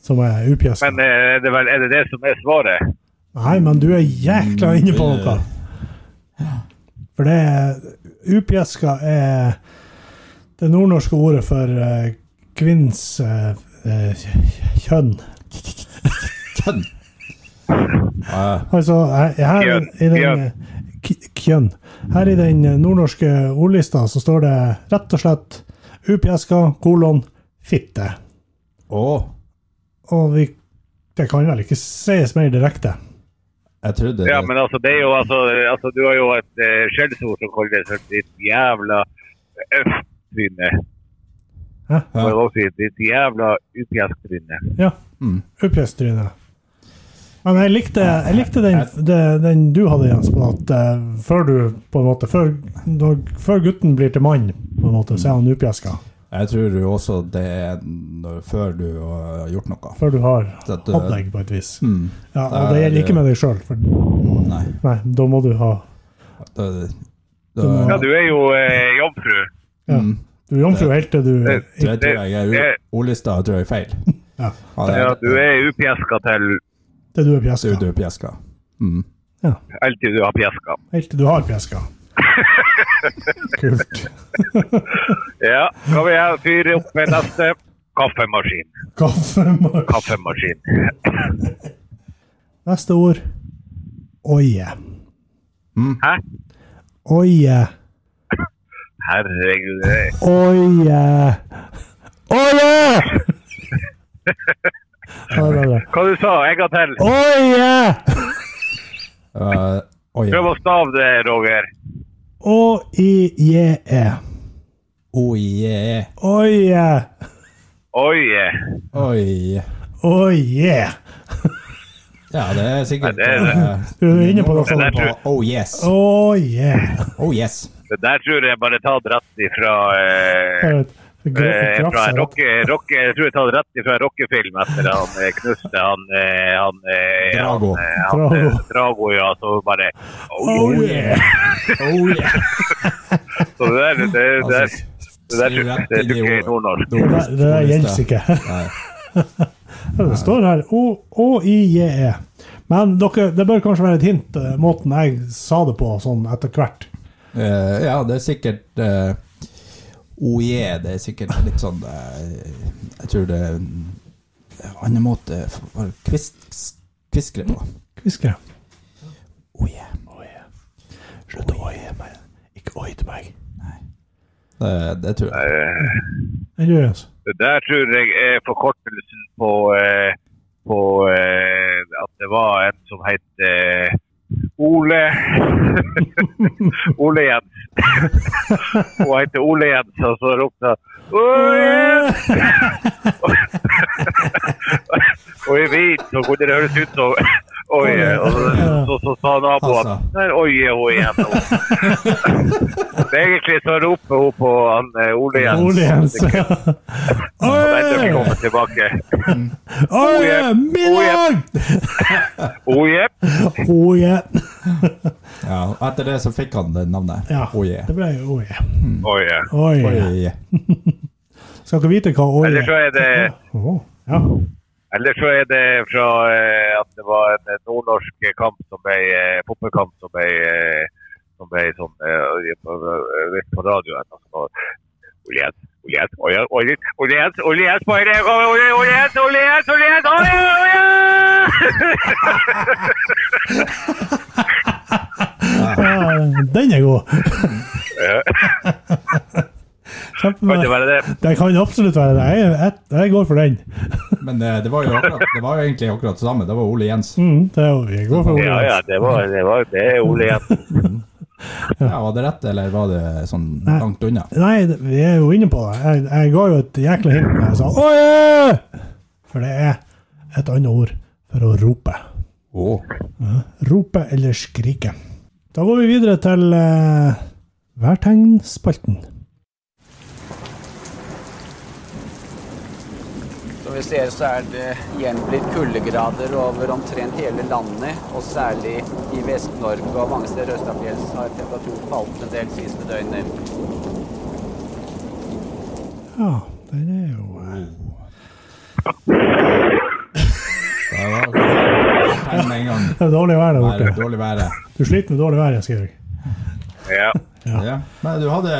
C: som er upjaska?
D: Men eh, er det, vel, er det det som er svaret?
C: Nei, men du er jækla inne på noe. For det er Upjaska er det nordnorske ordet for uh, kvinns eh, eh, kjønn.
B: Kjønn! Ja,
C: Altså her, her i den k- Kjønn. Her i den nordnorske ordlista så står det rett og slett Upjaska kolon fitte.
B: og
C: Og vi, det kan vel ikke sies mer direkte.
B: jeg trodde
D: Ja, men altså, det er jo altså, altså Du har jo et eh, skjellsord som kalles for ditt jævla øff-tryne.
C: Hæ?
D: Må jeg også si. Ditt jævla upjask-tryne.
C: Ja.
B: Mm.
C: Upjestryne. Men jeg likte, jeg likte den, det- den du hadde, Jens, på at eh, før du på en måte, før, når, før gutten blir til mann, på en måte, så er han upjeska.
B: Jeg tror jo også det er når, før du har gjort noe.
C: Før du har
B: At du-
C: hatt deg, på et vis.
B: Mm.
C: Ja, og det gjelder ikke med deg sjøl, for
B: Nei.
C: nei, da må du ha
B: Da, da,
C: må-
D: Ja, du er jo eh, jobbfru.
C: ja.
B: Mm.
C: Du er jomfru helt til du
D: Det-
B: Så jeg tror jeg er
D: det-
B: u- ordlista tror jeg er feil.
C: Ja.
B: det-
D: Ja, du er upjaska til
C: til du er
B: Så er
C: pjeska.
B: du pjeska. Mm.
C: Ja,
D: alt det du har pjaska.
C: helt til du har pjeska. Kult.
D: Ja, skal vi ha- fyre opp med neste? Kaffemaskin.
C: Kaffemark.
D: Kaffemaskin.
C: Neste ord oie.
D: Hæ?
C: Oie.
D: Herregud. eh. det er-
C: Oie! Oie! Ja, det er det.
D: Hva du sa du? En gang til.
C: Oie!
B: Uh, oi.
D: Prøv å stave det, Roger.
C: O-i-je-e.
B: Oi, Oh, yeah.
C: Oie!
D: Oi. eh.
B: oi.
C: Oie!
B: Ja, det er sikkert
D: Nei, det er det.
B: eh,
C: Du er inne på noe
D: Det der
C: sånt.
D: tror
B: på Oh yes.
C: Oie!
B: Oh yes.
D: Det der tror jeg bare er tatt rett ifra eh,
C: Det er et- det er et
D: Eh, fra en
C: grafs-
D: rocke, rocke, jeg tror jeg tar det rett ifra en rockefilm etter han eh, knuste han, eh, han, eh,
B: Drago.
D: han, eh, han, eh,
C: Drago.
D: Drago, ja. Så bare oh,
C: Oie!
B: Oh yeah.
D: Så det der, det, det, der,
B: Altså,
D: det der,
B: skriv rett
D: det
B: i
D: tror ikke er
B: ord-
D: nordnorsk.
C: Det der, det der gjelder
B: ordlista.
C: ikke.
B: Nei.
C: Det står her O- O-I-J-E. Men dere, det bør kanskje være et hint, eh, måten jeg sa det på sånn etter hvert.
B: Eh, ja, det er sikkert eh, Oh yeah, det er sikkert litt sånn eh, Jeg tror det er en annen måte å kvis- kviskre på.
C: Kviskre.
B: Oh yeah.
C: Slutt å oie meg. Ikke oi til meg.
B: Det, det tror jeg.
D: Eh,
C: Enn du, Jens?
D: Det der tror jeg er forkortelsen på, eh, på eh, at det var en som het eh, Ole Ole Jens. Hun heter Ole Jens, og så ropte hun Ole Jens! Og i hvit så kunne det høres ut som Oi, og så, så, så sa naboen
B: Altså.
D: Der oier hun igjen. nå." Men Egentlig så roper hun på han eh, Ole Jens.
C: Ole Jens.
D: Og den dør
C: Oi!
D: kommer tilbake.
C: Oi! Middag!
D: Oje.
C: Oie.
B: Ja, etter det så fikk han det navnet.
C: Ja,
B: Oh yeah. Oh,
C: det ble oie.
D: Oje.
C: Oi.
B: Oi.
C: Skal dere vite hva oie
D: Eller så er det,
C: Å, Ja.
D: eller så er det fra eh, at det var en nordnorsk kamp som ble eh, fotballkamp som ble eh, som ble sånn eh, på, eh, på radioen. og så var Ole Jens, Ole Jens, Ole Jens, Ole Jens, Ole Jens, Ole Jens, på høyre, kom, Ole Ole Jens, Ole Jens, Ole Jens, Ole Jens!
C: Ja, Den er god.
D: Kan det
C: Kjempebra.
D: være det?
C: Det kan absolutt være det. Jeg, jeg, jeg går for den.
B: Men eh, det, det, var jo akkurat, det var jo egentlig akkurat det samme. Det var Ole Jens.
C: Mm, det er jo, vi går for Ole
D: Ja, ja,
C: Jens.
D: det var det, var, det er Ole Jensen.
B: Ja, var det rett, eller var det sånn langt unna?
C: Nei, det- vi er jo inne på det. Jeg, jeg ga jo et jækla hint da jeg sa «Åje!» For det er et annet ord for å rope.
B: Å,
C: Rope eller skrike. Da går vi videre til eh, værtegnspalten.
E: Som vi ser så er det igjen blitt kuldegrader over omtrent hele landet, og særlig i Vest-Norge og mange steder østafjells har temperaturen falt en del siste døgnet.
C: Ja, den er jo eh,
B: det var tegn med en gang.
C: Det er dårlig vær der
B: Været,
C: borte.
B: dårlig været.
C: Du sliter med dårlig vær, Jens Georg.
D: Ja.
B: Ja. Men du hadde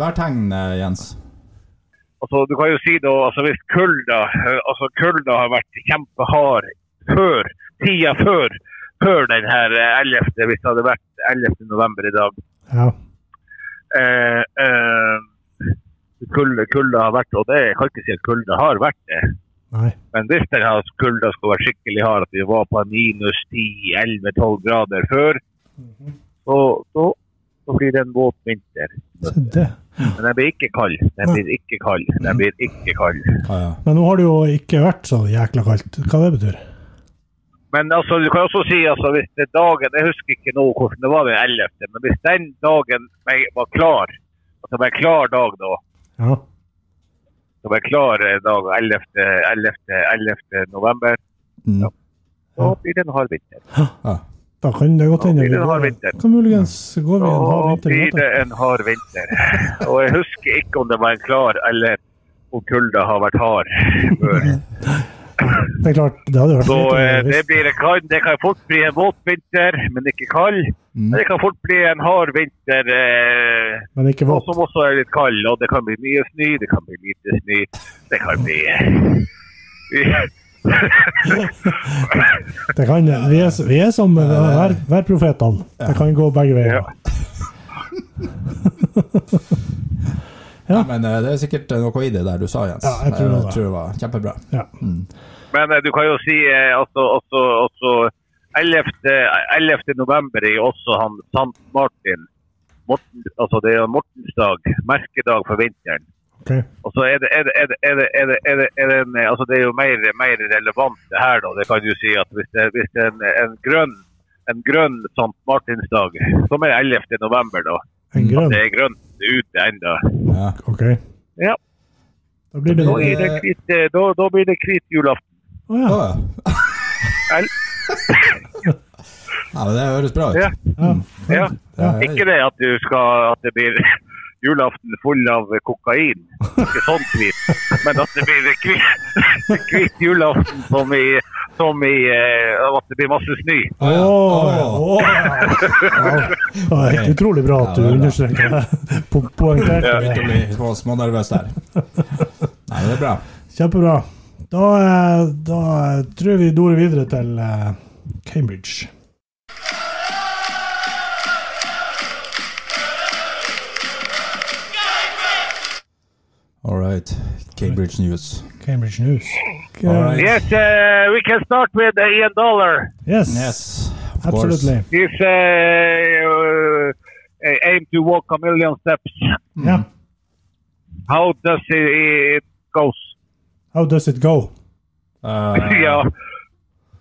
B: værtegn, eh, Jens.
D: Altså, du kan jo si da, altså hvis kulda, eh, altså kulda har vært kjempehard før, tida før, før den her eh, 11. hvis det hadde vært 11. november i dag.
C: Ja.
D: Eh, eh, kulda, kulda har vært, og det jeg kan ikke si at kulda har vært det.
C: Nei.
D: Men hvis den her altså, kulda skulle vært skikkelig hard, at vi var på minus 10-11-12 grader før, så, så, så blir det en våt vinter.
C: Se det.
D: Men den blir ikke kald. Den blir ikke kald. Den blir ikke kald.
B: Ah, ja.
C: Men nå har det jo ikke vært så jækla kaldt. Hva det betyr?
D: Men altså, du kan også si altså, hvis det er dagen Jeg husker ikke nå hvordan det var den 11., men hvis den dagen jeg var klar, altså det var en klar dag da
C: Ja.
D: det var en klar eh, dag 11. 11. 11. november,
B: Mm.
D: så blir det en hard vinter.
B: Ja.
C: Da kan det godt hende
D: blir
C: vi
D: det en hard
C: går-
D: vinter.
C: kan muligens gå vi en hard
D: Så
C: vinter i
D: blir
C: møte.
D: det en hard vinter. Og jeg husker ikke om det var en klar eller om kulda har vært hard før.
C: Det er klart, det hadde vært
D: Så
C: fint om vi
D: eh, det
C: visste.
D: blir en kald. Det kan fort bli en våt vinter, men ikke kald. Men det kan fort bli en hard vinter eh,
C: Men ikke
D: og
C: vått.
D: som også er litt kald. Og det kan bli mye snø, det kan bli lite snø. Det kan bli
C: Det kan, vi, er, vi er som eh, vær, værprofetene. Det kan gå begge veier.
B: Nei, Men eh, det er sikkert noe i det der du sa, Jens. Eh,
C: Ja, jeg tror det var.
B: tror det var kjempebra.
C: Ja.
D: Men eh, du kan jo si eh, altså, altså, altså 11. 11. november er jo også han Sant Martin. Morten, altså det er Mortens dag, merkedag for vinteren.
C: ok.
D: Og så er det, er det, er det, er det, er det, er det, er det, en, eh, altså det er jo mer, mer relevant det her, da. Det kan du si at hvis det, hvis det er en, en grønn en grønn Sankt Martinsdag, som er 11. november, da.
B: Mm.
C: En grønn.
D: Det er grønt ute ennå.
B: Ja.
C: Ok.
D: Ja.
C: Da blir det
D: Da,
C: Å
D: er det hvit, eh, da, da blir det hvit julaften.
C: ja.
B: Å, Ah, ja.
D: El-
B: ja, men det høres bra ut.
D: Ja.
C: ja.
D: Ja.
B: Ja.
D: Ikke det at du skal at det blir julaften full av kokain, ikke sånn hvit, men at det blir hvit, hvit julaften som i, som i eh, At det blir masse snø.
B: Å, ja. Å,
C: Å, ja. Det var helt utrolig bra at du
B: Ja, det er bra.
C: understreker det. Po- Poengterte
B: Jeg
C: det.
B: begynte å bli små- smånervøs der. Nei, men det er bra.
C: Kjempebra. Da, eh, da eh, tror jeg vi dor videre til eh, Cambridge.
B: All right. Cambridge News.
C: Cambridge News. Ok.
B: Alright.
D: Yes, uh, we can start with uh, Ian Dollar.
C: Yes,
B: Yes, of
C: absolutely.
D: He's uh, uh, aim to walk a million steps.
C: Yeah.
D: How does it, it goes?
C: How does it go?
B: course. Uh,
D: yeah,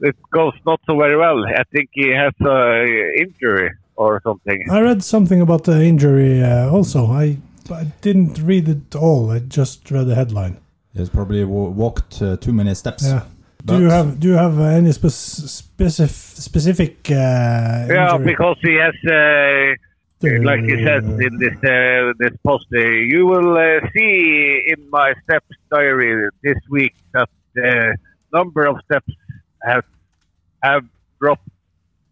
D: it goes not so very well. I think he has uh, injury or something.
C: I read something about the injury uh, also. I, I didn't read it all. I just read the headline.
B: He's probably wa- walked uh, too many steps.
C: Yeah.
B: But-
C: do you have do you have uh, any spec specific specific uh,
D: Yeah,
C: injury?
D: because he has, uh, like he says in this uh, this post, uh, you will uh, see in my steps diary this week that the number of steps have have dropped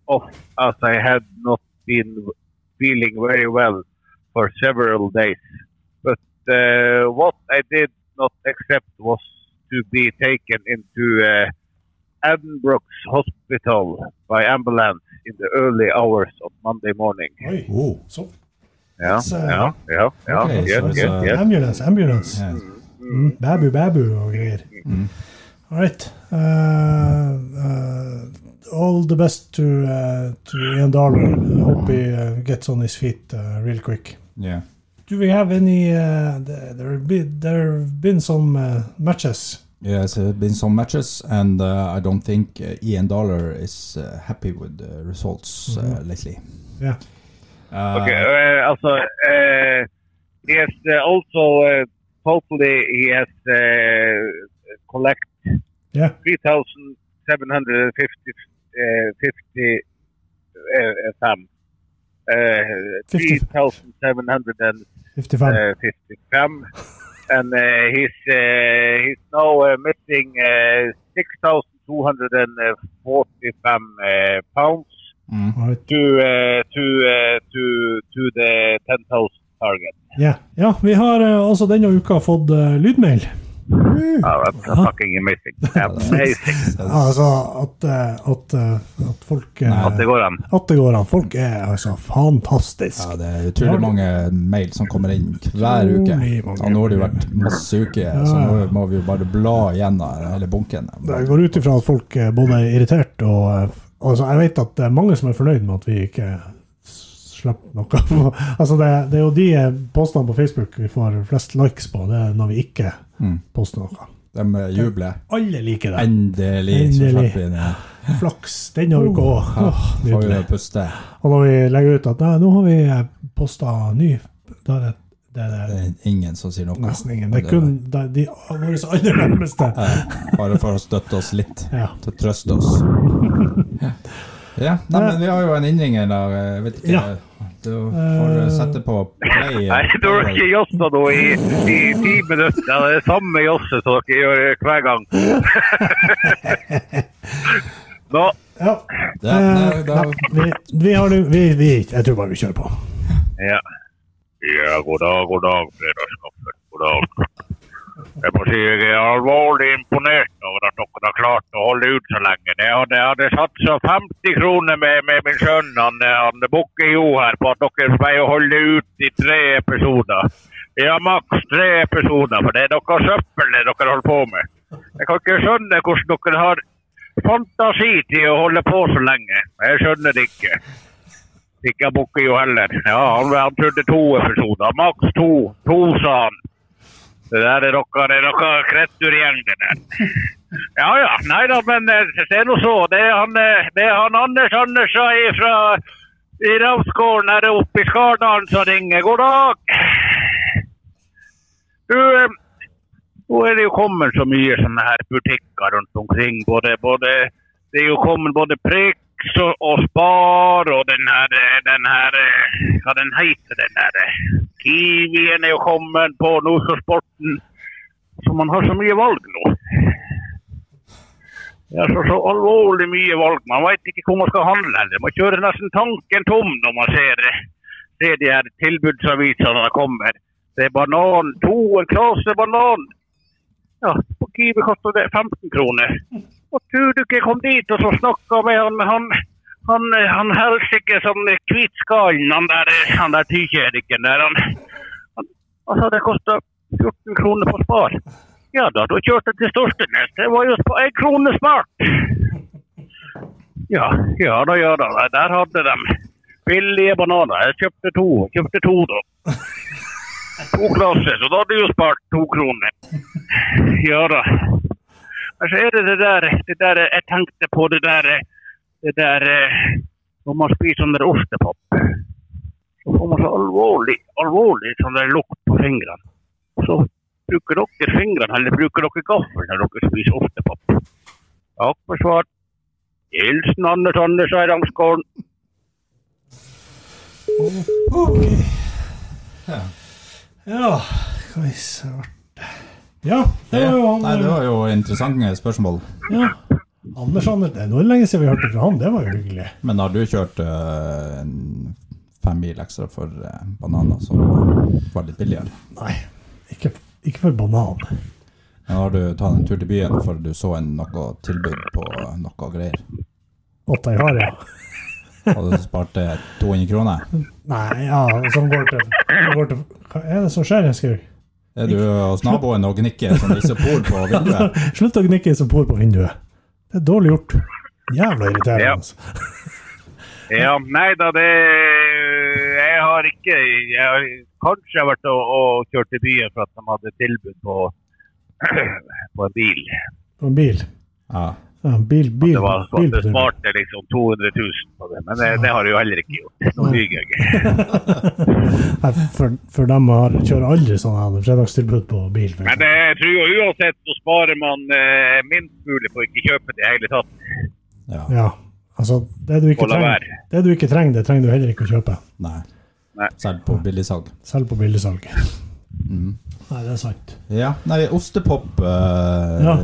D: off as I had not been feeling very well for several days. But uh, what I did not accept was to be taken into uh, Addenbrooke's hospital by ambulance in the early hours of Monday morning.
C: Oi.
B: Oh,
C: So,
D: Yeah,
C: It's, uh,
D: yeah, yeah, yeah,
B: okay,
D: yes,
B: so it's,
D: yes,
B: uh,
D: yes.
C: Hmm? ambulance, ambulance.
B: yeah.
D: Mm-hmm.
C: Mm. Babu, babu og greier. All right. Uh, uh, all the best to, uh, to Ian Darwin. I hope he uh, gets on his feet uh, real quick.
B: Yeah.
C: Do we have any uh, th- there, have been, there have been some uh, matches.
B: Yes, there have uh, been some matches, and uh, I don't think uh, Ian Dollar is uh, happy with the results uh, lately.
C: Mm-hmm. Yeah.
B: Uh,
D: Okay, uh, also, uh, he has uh, also uh, totally he has uh, collect
C: Yeah.
D: three thousand seven hundred and fifty uh, fifty uh, uh, some uh, three
C: Fifty.
D: thousand seven hundred and
C: 55.
D: uh, fifty some, and uh, he's uh, he's now uh, missing uh, six thousand two hundred and forty some uh, pounds
B: mm.
C: All right.
D: to uh, to uh, to to the 10,000 target.
C: Ja. ja, vi har eh, også denne uka fått eh, lydmail.
D: Oh, that's
C: Huh?
D: fucking amazing. Amazing.
C: Altså at, eh, at, eh, at folk eh,
D: At det går an.
C: At det går an. Folk er altså fantastisk.
B: Ja, det er utrolig mange mail som kommer inn hver uke.
C: Utrolig mange Ah.
B: Og nå har det jo vært masse uker, så nå må vi jo bare bla gjennom hele bunken.
C: Jeg går ut ifra at folk eh, både er irritert og eh, altså Jeg vet at det er mange som er fornøyd med at vi ikke s- slipper noe. altså det, det er jo de eh, postene på Facebook vi får flest likes på, det er når vi ikke poster noe.
B: De jubler.
C: Alle liker det.
B: Endelig så
C: Endelig.
B: slipper vi det.
C: Flaks denne uka òg. Åh,
B: Får Oh, vi
C: Nydelig.
B: puste.
C: Og når vi legger ut at nei, nå har vi posta ny, da er det, det, er
B: Det
C: det
B: er ingen som sier noe.
C: nesten ingen. Det er kun de, de våre aller nærmeste.
B: Bare for å støtte oss litt.
C: Ja.
B: Til å trøste oss. Ja, nei, men vi har jo en innringer der. Jeg vet ikke.
C: Ja. Eh,
B: Du får sette på play.
D: Nei, dere har ikke jossa nå i, i ti minutter. Det er det samme josset som dere gjør hver gang. Nå,
C: Ja.
B: Ja, nei, da-
C: Eh, nei, vi, vi har det vi, vi, Jeg tror bare vi kjører på.
D: ja. ja, god dag, god dag, fredagskaffen. God dag. Jeg må si jeg er alvorlig imponert over at dere har klart å holde ut så lenge. Jeg hadde, jeg hadde satsa 50 kroner med, med min sønn, han, eh, han bukker jo her, på at dere pleier å holde ut i tre episoder. Ja, maks tre episoder, for det er noe søppel det dere holder på med. Jeg kan ikke skjønne hvordan dere har fantasi til å holde på så lenge. Jeg skjønner det ikke. Ikke bukker jo heller. Ja, han, han trodde to episoder. Maks to. To, sa han. Det der er dere, det er dere kretturgjeng, det der. Ja ja, nei da, men eh, det er nå så. Det er han, eh, det er han Anders Andersen i fra i Ravsgården her oppe i Skardalen som ringer. God dag! Du, eh, nå er det jo kommet så mye sånne her butikker rundt omkring. Både, både, det er jo kommet både Prix og, og Spar og den her, eh, den her eh, Hva den heter den her eh, Kiwien er jo kommet på Nordfjordsporten. Så man har så mye valg nå. Det er så, så alvorlig mye valg. Man veit ikke hvor man skal handle heller. Man kjører nesten tanken tom når man ser eh, det de her tilbudsavisene som kommer. Det er banan, to, en klase banan. Ja, på Kiwi koster det 15 kroner. Og tror du ikke jeg kom dit og så snakka med han, han han, eh, han helsike som eh, hvitskallen, han der, eh, han der tykjedikken der. Han, han, han sa det kosta 14 kroner på Spar. Ja da, da kjørte jeg til Storstenes. Det var jo på én krone smart. Ja, ja da, ja da. Nei, Der hadde de billige bananer. Jeg kjøpte to. Kjøpte to, da. To klasser, så da hadde jeg jo spart to kroner. Ja da. Men så er det det der, det der Jeg tenkte på det der det der eh, Når man spiser sånn der ostepop, så får man så alvorlig alvorlig sånn der lukt på fingrene. Så bruker dere fingrene, eller bruker dere gaffel når dere spiser ostepop? Takk for svar. Hilsen Anders Andersen i Ramsgården.
C: Ja, skal vi se Ja, det var jo han. eh.
B: Nei, det var jo interessante spørsmål.
C: Ja. Anders Anders, det er noe lenge siden vi hørte fra han. Det var jo hyggelig.
B: Men har du kjørt eh, en fem mil ekstra for eh, bananer som var litt billigere?
C: Nei, ikke, ikke for banan.
B: Men har du tatt en tur til byen for du så en, noe tilbud på noe greier?
C: Åtta i har, ja.
B: Og du sparte 200 kroner?
C: Nei, ja, som går til, som går til Hva er det som skjer, Skaug?
B: Er du hos naboen og gnikker som isopor på vinduet?
C: Slutt å gnikke som por på vinduet. Det er dårlig gjort. Jævla irriterende.
D: Ja.
C: Altså.
D: Ja, nei da, det Jeg har ikke jeg har, Kanskje jeg har vært og, og kjørt til byen for at de hadde tilbud på, på en bil.
C: Og en bil.
B: Ja.
C: Ja, en bil, bil,
D: Det var
C: bil
D: sånn
C: på
D: det
C: turen.
D: sparte liksom 200 000 på det, men det, det har jeg jo heller ikke gjort. Nå lyver jeg.
C: Nei, for, for dem har, kjører aldri sånn her fredagstilbud på bil. for
D: Men eh,
C: eksempel.
D: jeg tror jo uansett så sparer man eh, minst mulig på å ikke kjøpe det i hele tatt.
B: ja.
C: Ja. Altså, det du, ikke
D: Og la
C: trenger, det du ikke trenger, det trenger du heller ikke å kjøpe.
B: Nei.
D: Nei.
B: Selv på billigsalg.
C: Selv på billigsalg. Nei, det er sant.
B: Ja. Nei, ostepop eh,
C: Ja.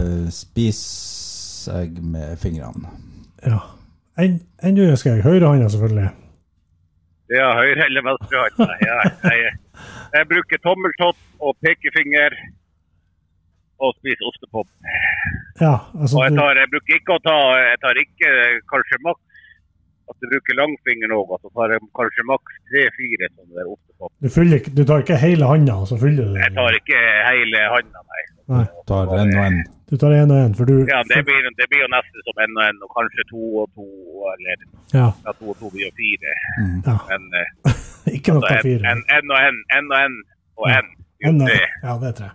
B: spiser jeg med fingrene.
C: Ja. En- Ennå husker jeg høyrehånda, selvfølgelig.
D: Ja, høyre eller venstre hånd. Nei, Ja, jeg, jeg bruker tommeltott og pekefinger og spiser ostepop.
C: Ja, altså,
D: Og jeg,
C: du-
D: tar, jeg bruker ikke å ta Jeg tar ikke eh, kanskje maks at jeg bruker langfingeren òg. Så tar jeg kanskje maks tre-fire sånne der ostepop.
C: du, fyller, ikke- du tar ikke hele handa, og så fyller du
D: Jeg tar ikke hele handa, nei.
C: Nei,
B: Tar en og en.
C: du tar én og én, for du
D: Ja, det, blir, det blir jo nesten som en og en, og kanskje to og to, eller
C: Ja,
D: ja, to og to blir jo fire.
C: ja.
D: Men eh,
C: Ikke noe
D: så en,
C: fire.
D: en, en og en, en og en og en. Det
C: En
D: er jo
C: og-
D: tre.
C: ja, det er tre.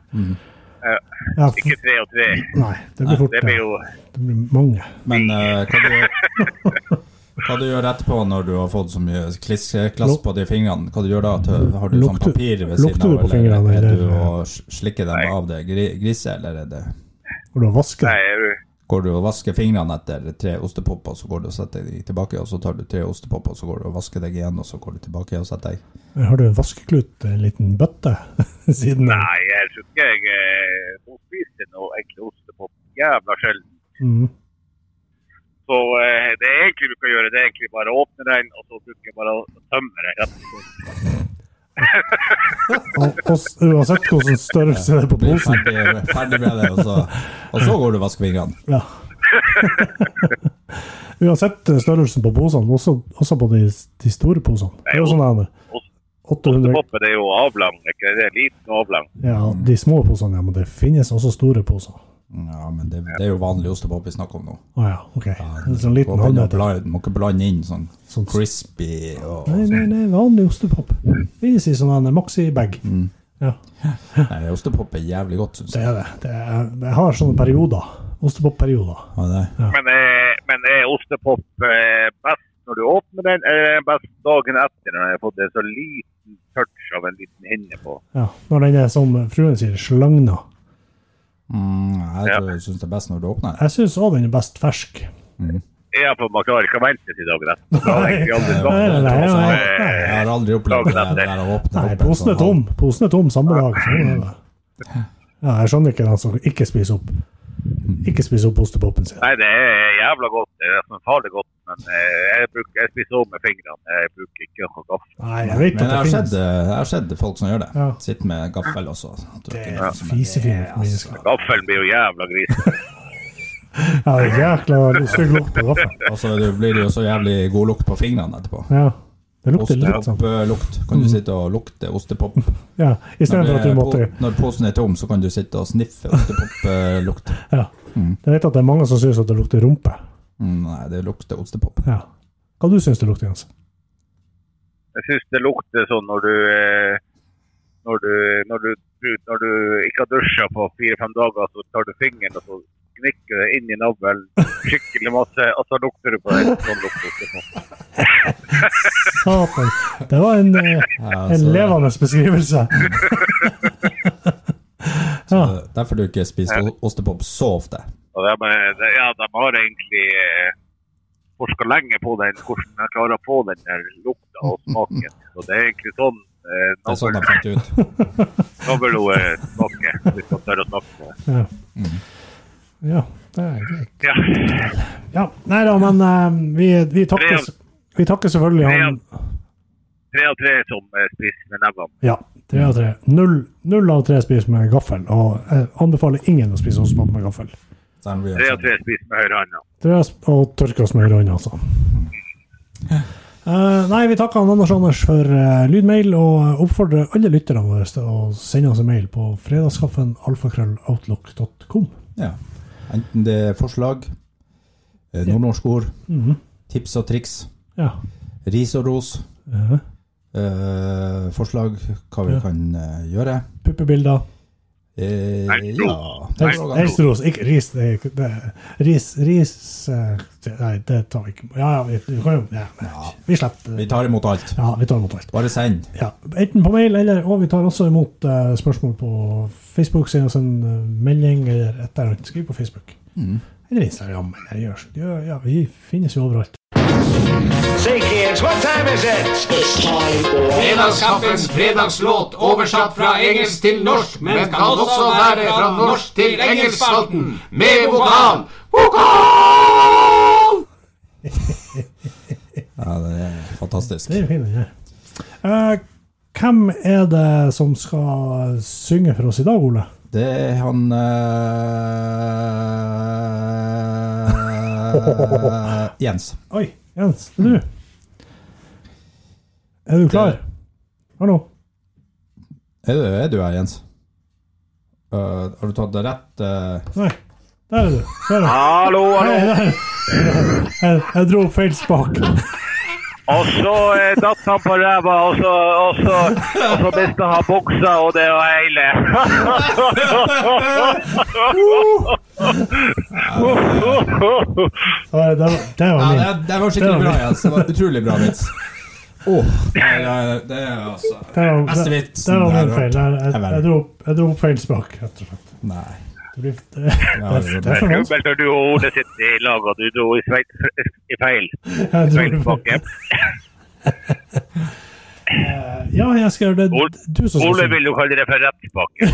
D: Ja.
C: Ja, f-
D: Ikke tre og tre.
C: nei, det blir fort
D: Det blir jo
C: det blir mange.
B: Men eh, hva, du gjør, hva du gjør etterpå når du har fått så mye kliss, klass på de fingrene? Hva du gjør da? Tø- Har du sånn
C: Lukter-
B: papir ved
C: lukter
B: siden av?
C: du på fingrene,
B: eller er du
C: eller?
B: og s- slikker dem av det gri- griset, eller er det
C: Hvor du har vasket.
D: Nei, jeg-
B: Går du og vasker fingrene etter tre ostepopper, så går du og setter de tilbake, og så tar du tre ostepopper, så går du og vasker deg igjen, og så går du tilbake og setter deg.
C: Har du en vaskeklut, en liten bøtte? Siden av?
D: nei, jeg tror ikke jeg eh, Nå spiser jeg noe ekle ostepop jævla sjelden.
C: Mm.
D: Så eh, det jeg egentlig bruker å gjøre, det er egentlig bare å åpne den, og så bruker jeg bare å tømme den. rett og slett.
C: Og, og s- uansett hvilken størrelse det er på
B: Blir
C: posen.
B: ferdig, ferdig med det, og så, og så går du og vasker fingrene.
C: Ja. Uansett eh, størrelsen på posene, også, også på de, de store posene. Det er jo sånn her
D: ost-
C: 800
D: Poppet er jo avlang, ikke det? Liten og avlang.
C: Ja, de små posene, ja, men det finnes også store poser.
B: Ja, men det, det er jo vanlig ostepop vi snakker om nå.
C: Å ja, OK. En sånn
B: Du
C: liten
B: må ikke
C: halvmeter.
B: blande- må ikke blande inn sånn
C: Sånn-
B: crispy og
C: Nei, nei, nei, vanlig ostepop. Finnes i sånn en maxi-bag. Ja,
B: Nei, ostepop er jævlig godt, syns
C: det
B: jeg.
C: er det. det er, jeg har sånne perioder. Ostepop-perioder.
B: Ja, det.
D: Men, eh, men er ostepop eh, best når du åpner den, eller er den best dagen etter når den har fått en så liten touch av en liten hinne på?
C: Ja, når den er, som fruen sier, slagna.
B: Mm, jeg
D: Ja.
B: tror jeg syns det er best når du åpner.
C: Jeg syns òg den er best fersk.
D: Ja, for man klarer ikke å vente til dagen etter. Da har jeg egentlig aldri
C: Nei,
D: sagt
C: nei, nei, nei, nei.
B: Jeg har aldri opplevd det der- det der å åpne
C: Nei,
B: opp en
C: posen
B: sånn
C: er tom. Posen er tom samme dag. Sånn er det. Ja, jeg skjønner ikke den som ikke spiser opp Ikke spiser opp ostepopen sin.
D: Nei, det er jævla godt. Det er nesten farlig godt. Men eh, jeg, bruker, jeg spiser også med fingrene. Jeg bruker ikke noe gaffel.
C: Nei, jeg vet
B: Men jeg
C: at
B: har,
C: det
B: sett,
C: finnes.
B: jeg har sett folk som gjør det.
C: Ja.
B: Sitter med gaffel også. At du
C: Det
B: ikke
C: er
B: vet som
C: fisefine mennesker.
D: Gaffelen blir jo jævla gris.
C: Ja, det er jækla stygg lukt på gaffelen.
B: Og så det blir det jo så jævlig god lukt på fingrene etterpå.
C: Ja, det lukter litt sånn.
B: Ostepop-lukt. Kan du sitte og lukte ostepop?
C: Ja,
B: Når,
C: Istedenfor at
B: det-
C: du måtte
B: når posen er tom, så kan du sitte og sniffe ostepop-lukt.
C: Ja. Jeg vet at det er mange som syns at det lukter rumpe.
B: Mm, Nei, det lukter ostepop.
C: Ja. Hva du syns det lukter, Jens?
D: Jeg syns det lukter sånn når du eh, når du, når du, når du ikke har dusja på fire-fem dager, så tar du fingeren og så gnikker det inn i navlen skikkelig masse, og så lukter du på det. Sånn lukter det på.
C: Satan. Det var en, eh,
B: Ja,
C: en
B: så-
C: levende beskrivelse. Ja.
B: så Derfor Eh, du ikke spiser ostepop så ofte.
D: Og de, eh, de, ja, de har egentlig eh, forska lenge på den, hvordan de klarer å få den der lukta og smaken. Så det er egentlig sånn eh,
B: Det er sånn de
D: navlen-
B: fant ut.
D: navlen smaker, hvis man tør å snakke om det.
C: Ja. ja, det er greit.
D: Ja.
C: Ja, nei da, men eh, vi, vi, takker, vi takker selvfølgelig han
D: Tre av tre som eh, spiser med nevene.
C: Ja, tre av tre. Null, null av tre spiser med gaffel, og jeg anbefaler ingen å spise ostepop med gaffel.
B: Så de blir
D: Tre
B: jo
D: av tre spiser med høyrehånda.
C: Tre av- og tørke oss med høyrehånda, altså. Eh, nei, vi takker han Anders Anders for eh, lydmail, og oppfordrer alle lytterne våre til å sende oss en mail på fredagskaffenalfakrølloutlook.com.
B: Ja. Enten det er forslag, eh, nordnorsk ord,
C: Mhm.
B: tips og triks,
C: Ja.
B: ris og ros,
C: Eh,
B: eh, forslag, hva vi
C: Ja.
B: kan eh, gjøre.
C: Puppebilder.
B: Eh,
D: Nei, ro.
B: ja.
D: Nei,
C: Helst helst ros, ikke ris. Det, er ikke- det, er- ris, ris eh, det- Nei, det tar vi ikke. Ja, ja, vi, vi kan jo ja, nei, Vi slipper
B: Vi
C: det.
B: tar imot alt.
C: Ja, vi tar imot alt.
B: Bare send.
C: Ja, enten på mail, eller, og vi tar også imot eh, spørsmål på Facebook. Send oss en eh, melding eller et eller annet. Skriv på Facebook. Eller Instagram. Eller gjør, ja, ja, vi finnes jo overalt.
A: Fredagskaffens fredagslåt oversatt fra engelsk til norsk, men kan også være fra norsk til engelskspalten med vokal. Vokal!
B: Ja, det er fantastisk.
C: Det er jo fin, den her. Eh, hvem er det som skal synge for oss i dag, Ole?
B: Det er han eh, Jens.
C: Oi, Jens. Det er du. Er du klar? Hallo?
B: Er du, er du her, Jens? Eh, har du tatt det rett? eh?
C: Nei. Der er du. Der er du.
D: Hallo, hallo.
C: Nei, der. Jeg, jeg dro feil spak.
D: Og så eh, datt han på ræva, og så, og så, og så mista han buksa, og det var hele.
C: Det var, det var- det var
B: Ja,
C: min.
B: det, det var skikkelig bra, Jens. Det var Utrolig bra vits. Åh, det, er- det er altså
C: Det var,
B: Beste
C: det,
B: vitsen
C: det var
B: jeg
C: min
B: har
C: feil.
B: hørt.
C: Jeg, jeg,
B: Jeg vet
C: jeg,
B: det.
C: dro, opp- jeg dro opp feil smak, rett og slett.
B: Nei.
C: Det, blir, det, det,
B: Ja, det
C: det,
B: var
C: det er for vanskelig.
D: Skummelt når du og Ole sitter i lag, og du dro i, sveit, i feil,
C: Jeg dro
D: feil
C: opp feil.
D: pakke.
C: Ja, jeg skal gjøre det.
D: Ole-
C: Du som skal
D: Ole
C: si det.
D: vil jo kalle det for rettpakke.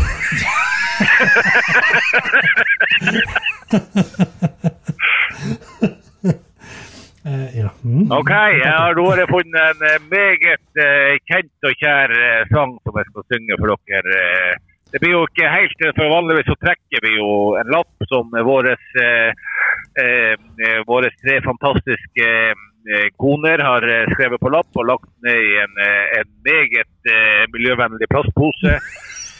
C: Eh, Ja. Mm.
D: OK, jeg har nå har jeg funnet en eh, meget eh, kjent og kjær eh, sang som jeg skal synge for dere. eh. Det blir jo ikke helt eh, For vanligvis så trekker vi jo en lapp som våre eh, tre fantastiske eh, koner har eh, skrevet på lapp og lagt ned i en, eh, en meget eh, miljøvennlig plastpose.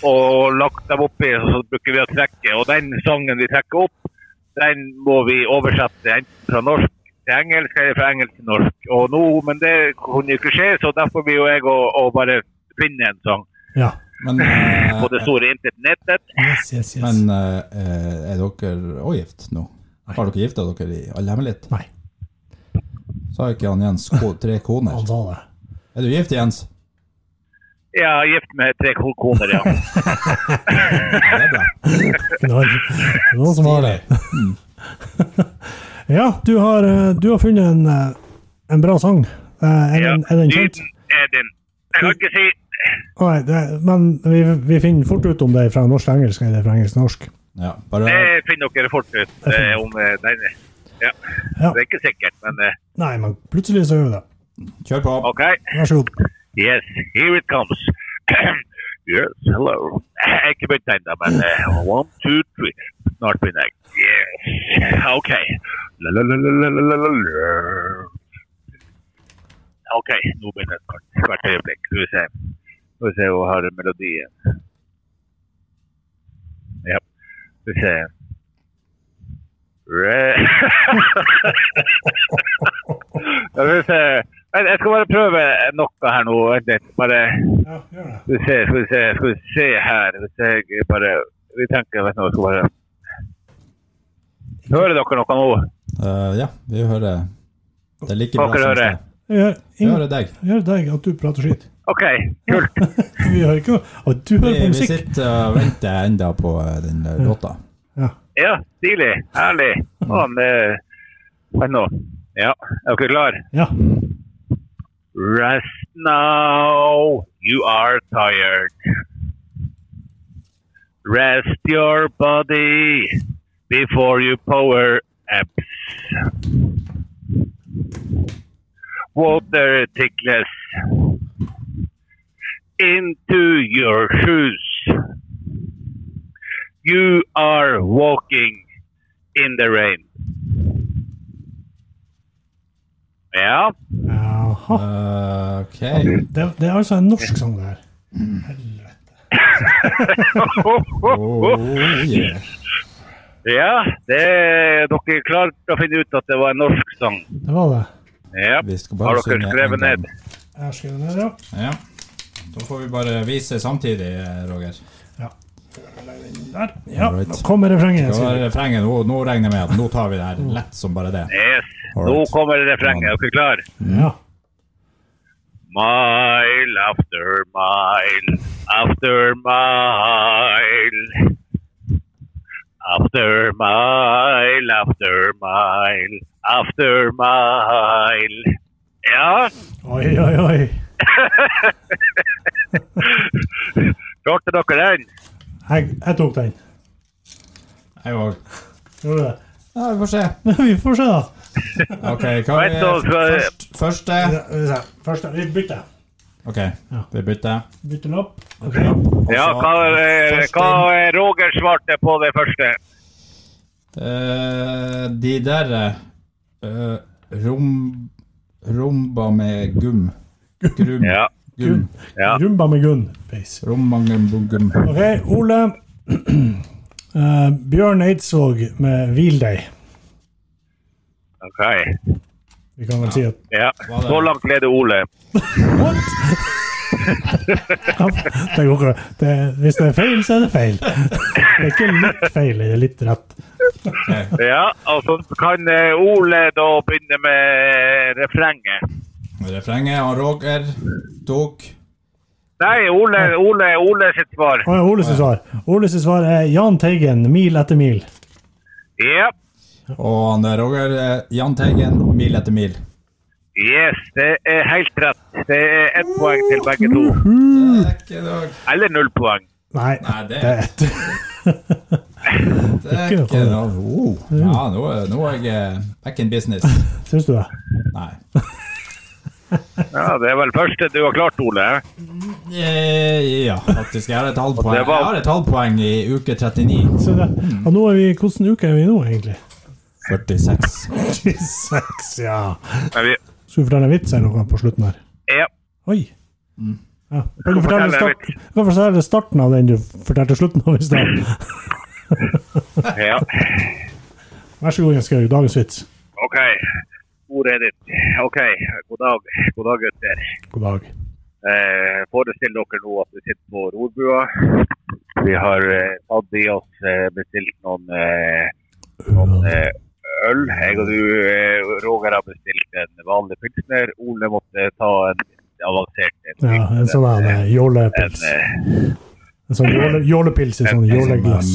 D: Og lagt dem oppi, og så bruker vi å trekke. Og den sangen vi trekker opp, den må vi oversette enten fra norsk til engelsk eller fra engelsk til norsk. Og nå, men det kunne jo ikke skje, så derfor blir jo jeg å, å bare finne en sang
C: Ja.
B: Men, eh,
D: på det store internettet.
C: Yes, yes, yes.
B: men eh, er dere òg gift nå? Har dere gifta dere i all hemmelighet?
C: Nei,
B: Sa ikke han Jens ko, tre koner?
C: han sa det.
B: Er du gift, Jens?
D: Ja, gift med tre ko- koner, ja.
B: Ja, det er bra.
C: Det var det var noen som har det. Ja, du har, eh, du har funnet en, eh, en bra sang. Eh, Er
D: ja.
C: den, er den kjent?
D: Nyden er din. Jeg kan ikke si
C: Nei, det, men vi, vi finner fort ut om det er fra norsk til engelsk eller fra engelsk til norsk.
B: Ja, bare
D: Det finner dere fort ut eh, om eh, den ja.
C: Ja.
D: Det er ikke sikkert, men eh,
C: Nei, men plutselig så gjør vi det.
B: kjør på.
D: OK.
C: Vær så god.
D: Yes, here it comes. yes, hello. Ikke begynt ennå, men eh, one, two, three. Snart begynner jeg. Yes, OK. La-la-la-la-la-la-la-la. OK, nå begynner det snart. Hvert øyeblikk. Skal vi se. Skal vi se, hun har melodien. Ja, skal vi se. Re- Skal vi se. Jeg jeg skal bare prøve noe her nå. Vent litt. Bare
C: Ja, gjør det.
D: skal vi se, skal vi se, skal vi se her. Hvis jeg bare Vi tenker vet du, jeg skal bare Hører dere noe nå?
B: Eh, ja, vi hører Det er like
D: Hva
B: bra
D: skal
B: som
D: dere?
B: sted.
C: Gjør,
B: Vi
C: ingen,
B: hører deg.
C: gjør deg at du prater skitt.
D: OK, kult.
C: Vi hører ikke noe. Og du
B: Vi,
C: hører på
B: vi
C: musikk.
B: sitter og venter enda på eh, den eh, låta.
C: Ja.
D: Ja, stilig. Herlig. Sånn. eh, Vent nå. Ja, er dere klar?
C: ja.
D: Rest now. You are tired. Rest your body before you power apps. Water tickles into your shoes. You are walking in the rain. Ja.
C: Jaha.
B: Eh, OK.
C: Det, det er altså en norsk sang, det her. Helvete.
B: Oh, yeah.
D: ja det, dere klarte å finne ut at det var en norsk sang.
C: Det var det.
D: Ja.
B: Vi skal bare
D: Har
B: synge
D: dere skrevet
B: en gang.
D: ned?
C: Jeg har skrevet ned, ja.
B: Ja. Da får vi bare vise samtidig, eh, Roger.
C: Der. Ja,
B: Alright.
C: nå kommer refrenget.
B: Det var
C: sier du.
B: refrenget. Nå, nå regner jeg med at nå tar vi det her lett som bare det.
D: Yes. Nå
B: Alright.
D: kommer refrenget. Er dere klare?
C: Ja.
D: Mile after mile after mile. After mile after mile after mile. Ja,
C: Oi, oi, oi.
D: klarte dere den?
C: Jeg, jeg tok den.
B: Jeg òg.
C: Gjorde du det?
B: Ja, vi får se.
C: Vi får se, da.
B: OK, hva er
D: Vent da, skal-
B: først, første?
C: Ja, vi ser. Først, vi bytter.
B: OK, vi bytter.
C: Bytter den opp. Ok.
D: Ja,
B: Og så-
D: hva, eh, hva eh, Roger svarte på det første?
B: Eh, de der eh, rom, Romba med gum. Grum.
D: Ja.
B: Gum.
D: Ja.
C: Rumba med Gunn. Face.
B: Rommangen bugum.
C: Ok, Ole. Eh, Bjørn Eidsvåg med 'Hvil deg'.
D: OK.
C: Vi kan vel si at
D: Ja.
B: det?
D: Så langt leder Ole.
C: What?! det går ikke. Det, hvis det er feil, så er det feil. Det er ikke litt feil, det er litt rett.
D: Ja, og så kan eh, Ole da begynne med eh, refrenget.
B: Refrenget av Roger tok
D: Nei, Ole, Ole, Ole sitt svar.
C: Og Oles svar Oles svar er Jahn Teigen, 'Mil etter mil'.
D: Ja.
B: Og han der Roger eh, Jahn Teigen, mil etter mil.
D: Yes, det er helt rett. Det er ett poeng til begge to.
B: Det er ikke dag.
D: Eller null poeng.
C: Nei,
B: Nei, det-
C: det er ett.
B: Det er
C: Ikke
B: ikke dag. Oh. Ja, nå, er- nå er jeg eh, back in business.
C: Syns du det?
B: Nei.
D: Ja, Det er vel første du har klart, Ole.
B: Eh, Ja, faktisk. Jeg har et halvt poeng.
D: det var-
B: Jeg har et halvt poeng i uke 39.
C: Syns du det? Og nå er vi, hvordan uke er vi nå, egentlig?
B: 46.
C: 26, ja.
D: Men vi,
C: Skal vi fortelle en vits eller noe på slutten her?
D: ja.
C: Oi. Ja. Kan du fortelle
D: Skal fortelle en
C: start,
D: vits.
C: kan du fortelle starten av den du fortalte slutten av i stad?
D: ja.
C: Vær så god, Jens Georg. Dagens vits.
D: OK. Ordet er ditt. OK. God dag, God dag gutter.
C: God dag.
D: Eh, forestill dere nå at vi sitter på rorbua. Vi har eh, tatt i oss eh, bestilt noen eh, eh, øl. Jeg og du, eh, Roger, har bestilt en vanlig pilsner. Ole måtte ta en avansert en.
C: Ja, en sånn her eh, jålepils.
D: En, eh,
C: En sånn jåle, jålepils i sånn jåleglass.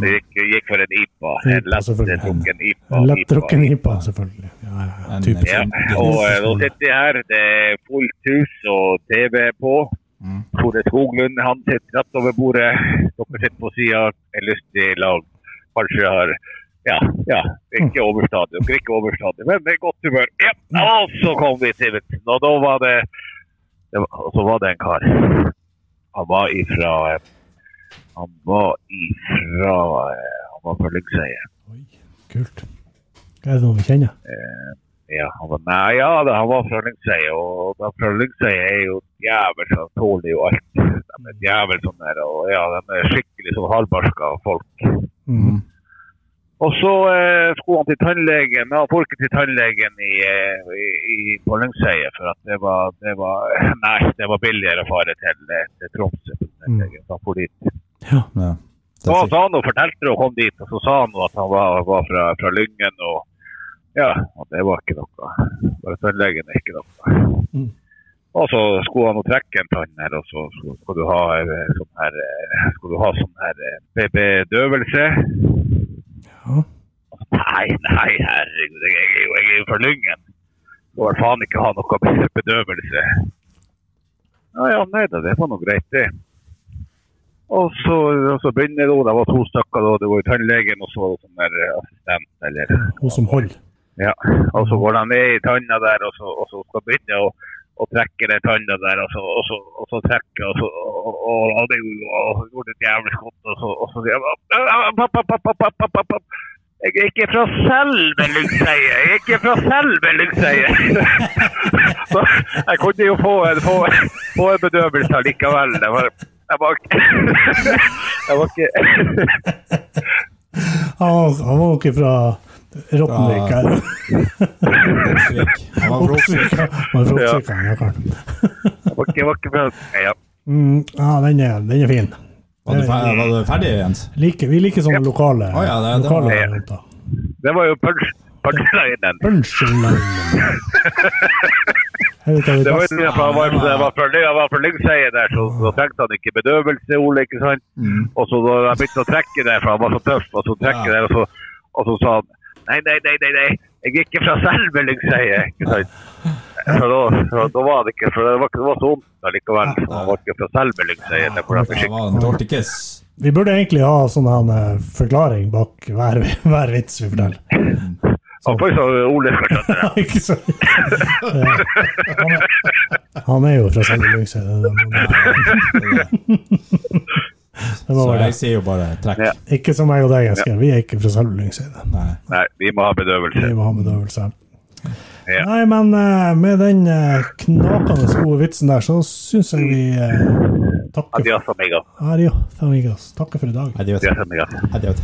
D: det gikk, gikk for en IPA.
C: IPA,
D: En
C: selvfølgelig.
D: lettdrukken IPA.
C: En lettdrukken IPA, selvfølgelig. Ja, ja, ja.
B: En-
C: Typisk.
D: Ja, og eh, nå sitter jeg her. Det er fullt hus og TV på.
B: Mm.
D: Tore Skoglund han sitter rett over bordet. Dere sitter på sida. Er lystig lag. Kanskje har ja, ja. Ikke overstadig. Dere er ikke overstadig, men det er godt humør. Ja, og så kom vi til vitsen. Og da var det, det var, og Så var det en kar. Han var ifra eh, Han var ifra eh, Han var fra Lyngseiet.
C: Oi, kult. Hva er det noen vi kjenner?
D: Ja, han var, nei, ja, da, han var fra Lyngsøy, og da fra Lyngsøy er jo jævel som tåler jo alt. De er jævel sånn der, og ja, de er skikkelig sånn halvbarska folk.
C: Mhm.
D: Og så eh, skulle han til tannlegen, men han får ikke til tannlegen i, eh, i, i, på Lyngsøy, for at det var, det var, nei, det var billigere å fare til, eh, til Tromsø. på tannlegen, så han for dit.
B: Ja.
D: Så han sa noe, fortalte det og kom dit, og så sa han noe at han var, var fra, fra Lyngen. og ja, og det var ikke noe. Bare tannlegen er ikke noe.
C: Mm.
D: Og så skulle han jo trekke en tann her, og så skulle- skal du ha eh, sånn her, eh, skal du ha sånn her eh, be- bedøvelse.
C: Ja.
D: Nei, nei, herregud, jeg er jo, jeg er jo fra Lyngen. Skal vel faen ikke ha noe be- bedøvelse. Ja, ja, nei da, det var nå greit, det. Og så, og så begynner det, og det var to stykker, da, det var jo tannlegen og så var det sånn der eh, assistent, eller
C: Hun som holder.
D: ja, og så går de ned i tanna der, og så, og så skal begynne å, å trekke den tanna der, og så, og så, og så trekke, og så og, og, og det gjorde- og gjorde et jævlig skott, og så, og så sier jeg, «Au, au, au, papp, papp, papp, papp, papp, papp, papp». Jeg er ikke fra Selben, Lyngseie. Jeg er ikke fra Selben, Lyngseie. Så jeg kunne jo få en, få, få en bedøvelse likevel. Jeg var, jeg var, ikke- jeg var ikke
C: Han var- han var ikke fra Rottenvik her.
B: Oksvik. Han var fra Oksvik.
C: Men fra Oksvik, ja, karen.
D: jeg var ikke- jeg var ikke fra Nei, ja.
C: Mm, ja, den er, den er fin.
B: Var du fer- var du ferdig, Jens?
C: Like, vi liker sånne lokale
B: Å ja, det- det
C: lokale
B: var-
C: varianter.
D: Det var jo punch- punchlinen.
C: Punchlinen. Jeg vet
D: Det
C: ikke
D: var
C: hva
D: jo det jeg var, jeg var fra, jeg var fra Lyngseie der, så da trengte han ikke bedøvelse, Ole, ikke sant?
B: Mm.
D: Og så da jeg begynte å trekke der, for han var så tøff, og så trekker der, og så, og så sa han Nei, nei, nei, nei, nei. jeg er ikke fra selve Lyngseie, ikke sant? Så da, så da var det ikke, for det var, ikke- det var så vondt allikevel. så Han var ikke fra selve Lyngseie. Det var
B: Det
D: jeg
B: var en dårlig kiss.
C: Vi burde egentlig ha sånn her eh, forklaring bak hver, hver vits vi forteller.
D: Han får jo så Ole skal skjønne det.
C: Ikke sant? Eh, han er- Han er jo fra Selje Lyngsøy. det- det- Det
B: Så
C: var bare
B: jeg
C: det.
B: sier jo bare trekk.
D: Ja.
C: Ikke som jeg og deg, Eskil. Vi er ikke fra Selje Lyngsøy. det.
B: Nei.
D: Nei, vi må ha
C: Vi
D: bedøvelse.
C: må ha med øvelse.
D: Ja.
C: Nei, men eh, med den eh, knakende gode vitsen der, så syns jeg vi eh, takker for
D: Adios, amigo.
C: Adio, famigas. Takker for i dag.
B: Adios.
D: Adios, amigo.
B: Adios.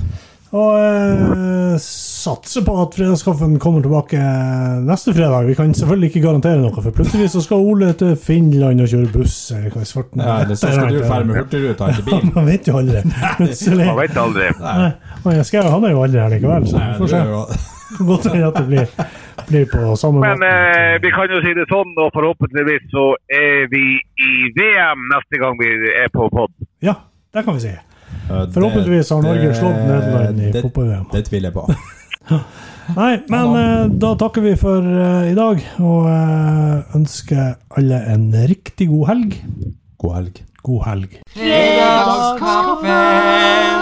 C: Og eh, satser på at fredagskaffen kommer tilbake eh, neste fredag. Vi kan selvfølgelig ikke garantere noe, for plutselig så skal Ole til Finland og kjøre buss. Eller hva i svarten
B: Ja, eller så skal du dra med Hurtigruta til bilen.
C: Man vet jo aldri. Plutselig.
D: Man vet aldri.
C: Og jeg skal, han er jo aldri her likevel, så vi får se. Godt hende at det blir, blir på samme
D: Men
C: måte.
D: eh, vi kan jo si det sånn, og forhåpentligvis så er vi i VM neste gang vi er på pod.
C: Ja, det kan vi si. Forhåpentligvis har Norge slått Nederland i
B: Eh, det-
C: fotball-VM.
B: Det tviler jeg på.
C: Nei, men eh, da takker vi for eh, i dag, og eh, ønsker alle en riktig god helg.
B: God helg.
C: God helg.
A: Fredagskaffen!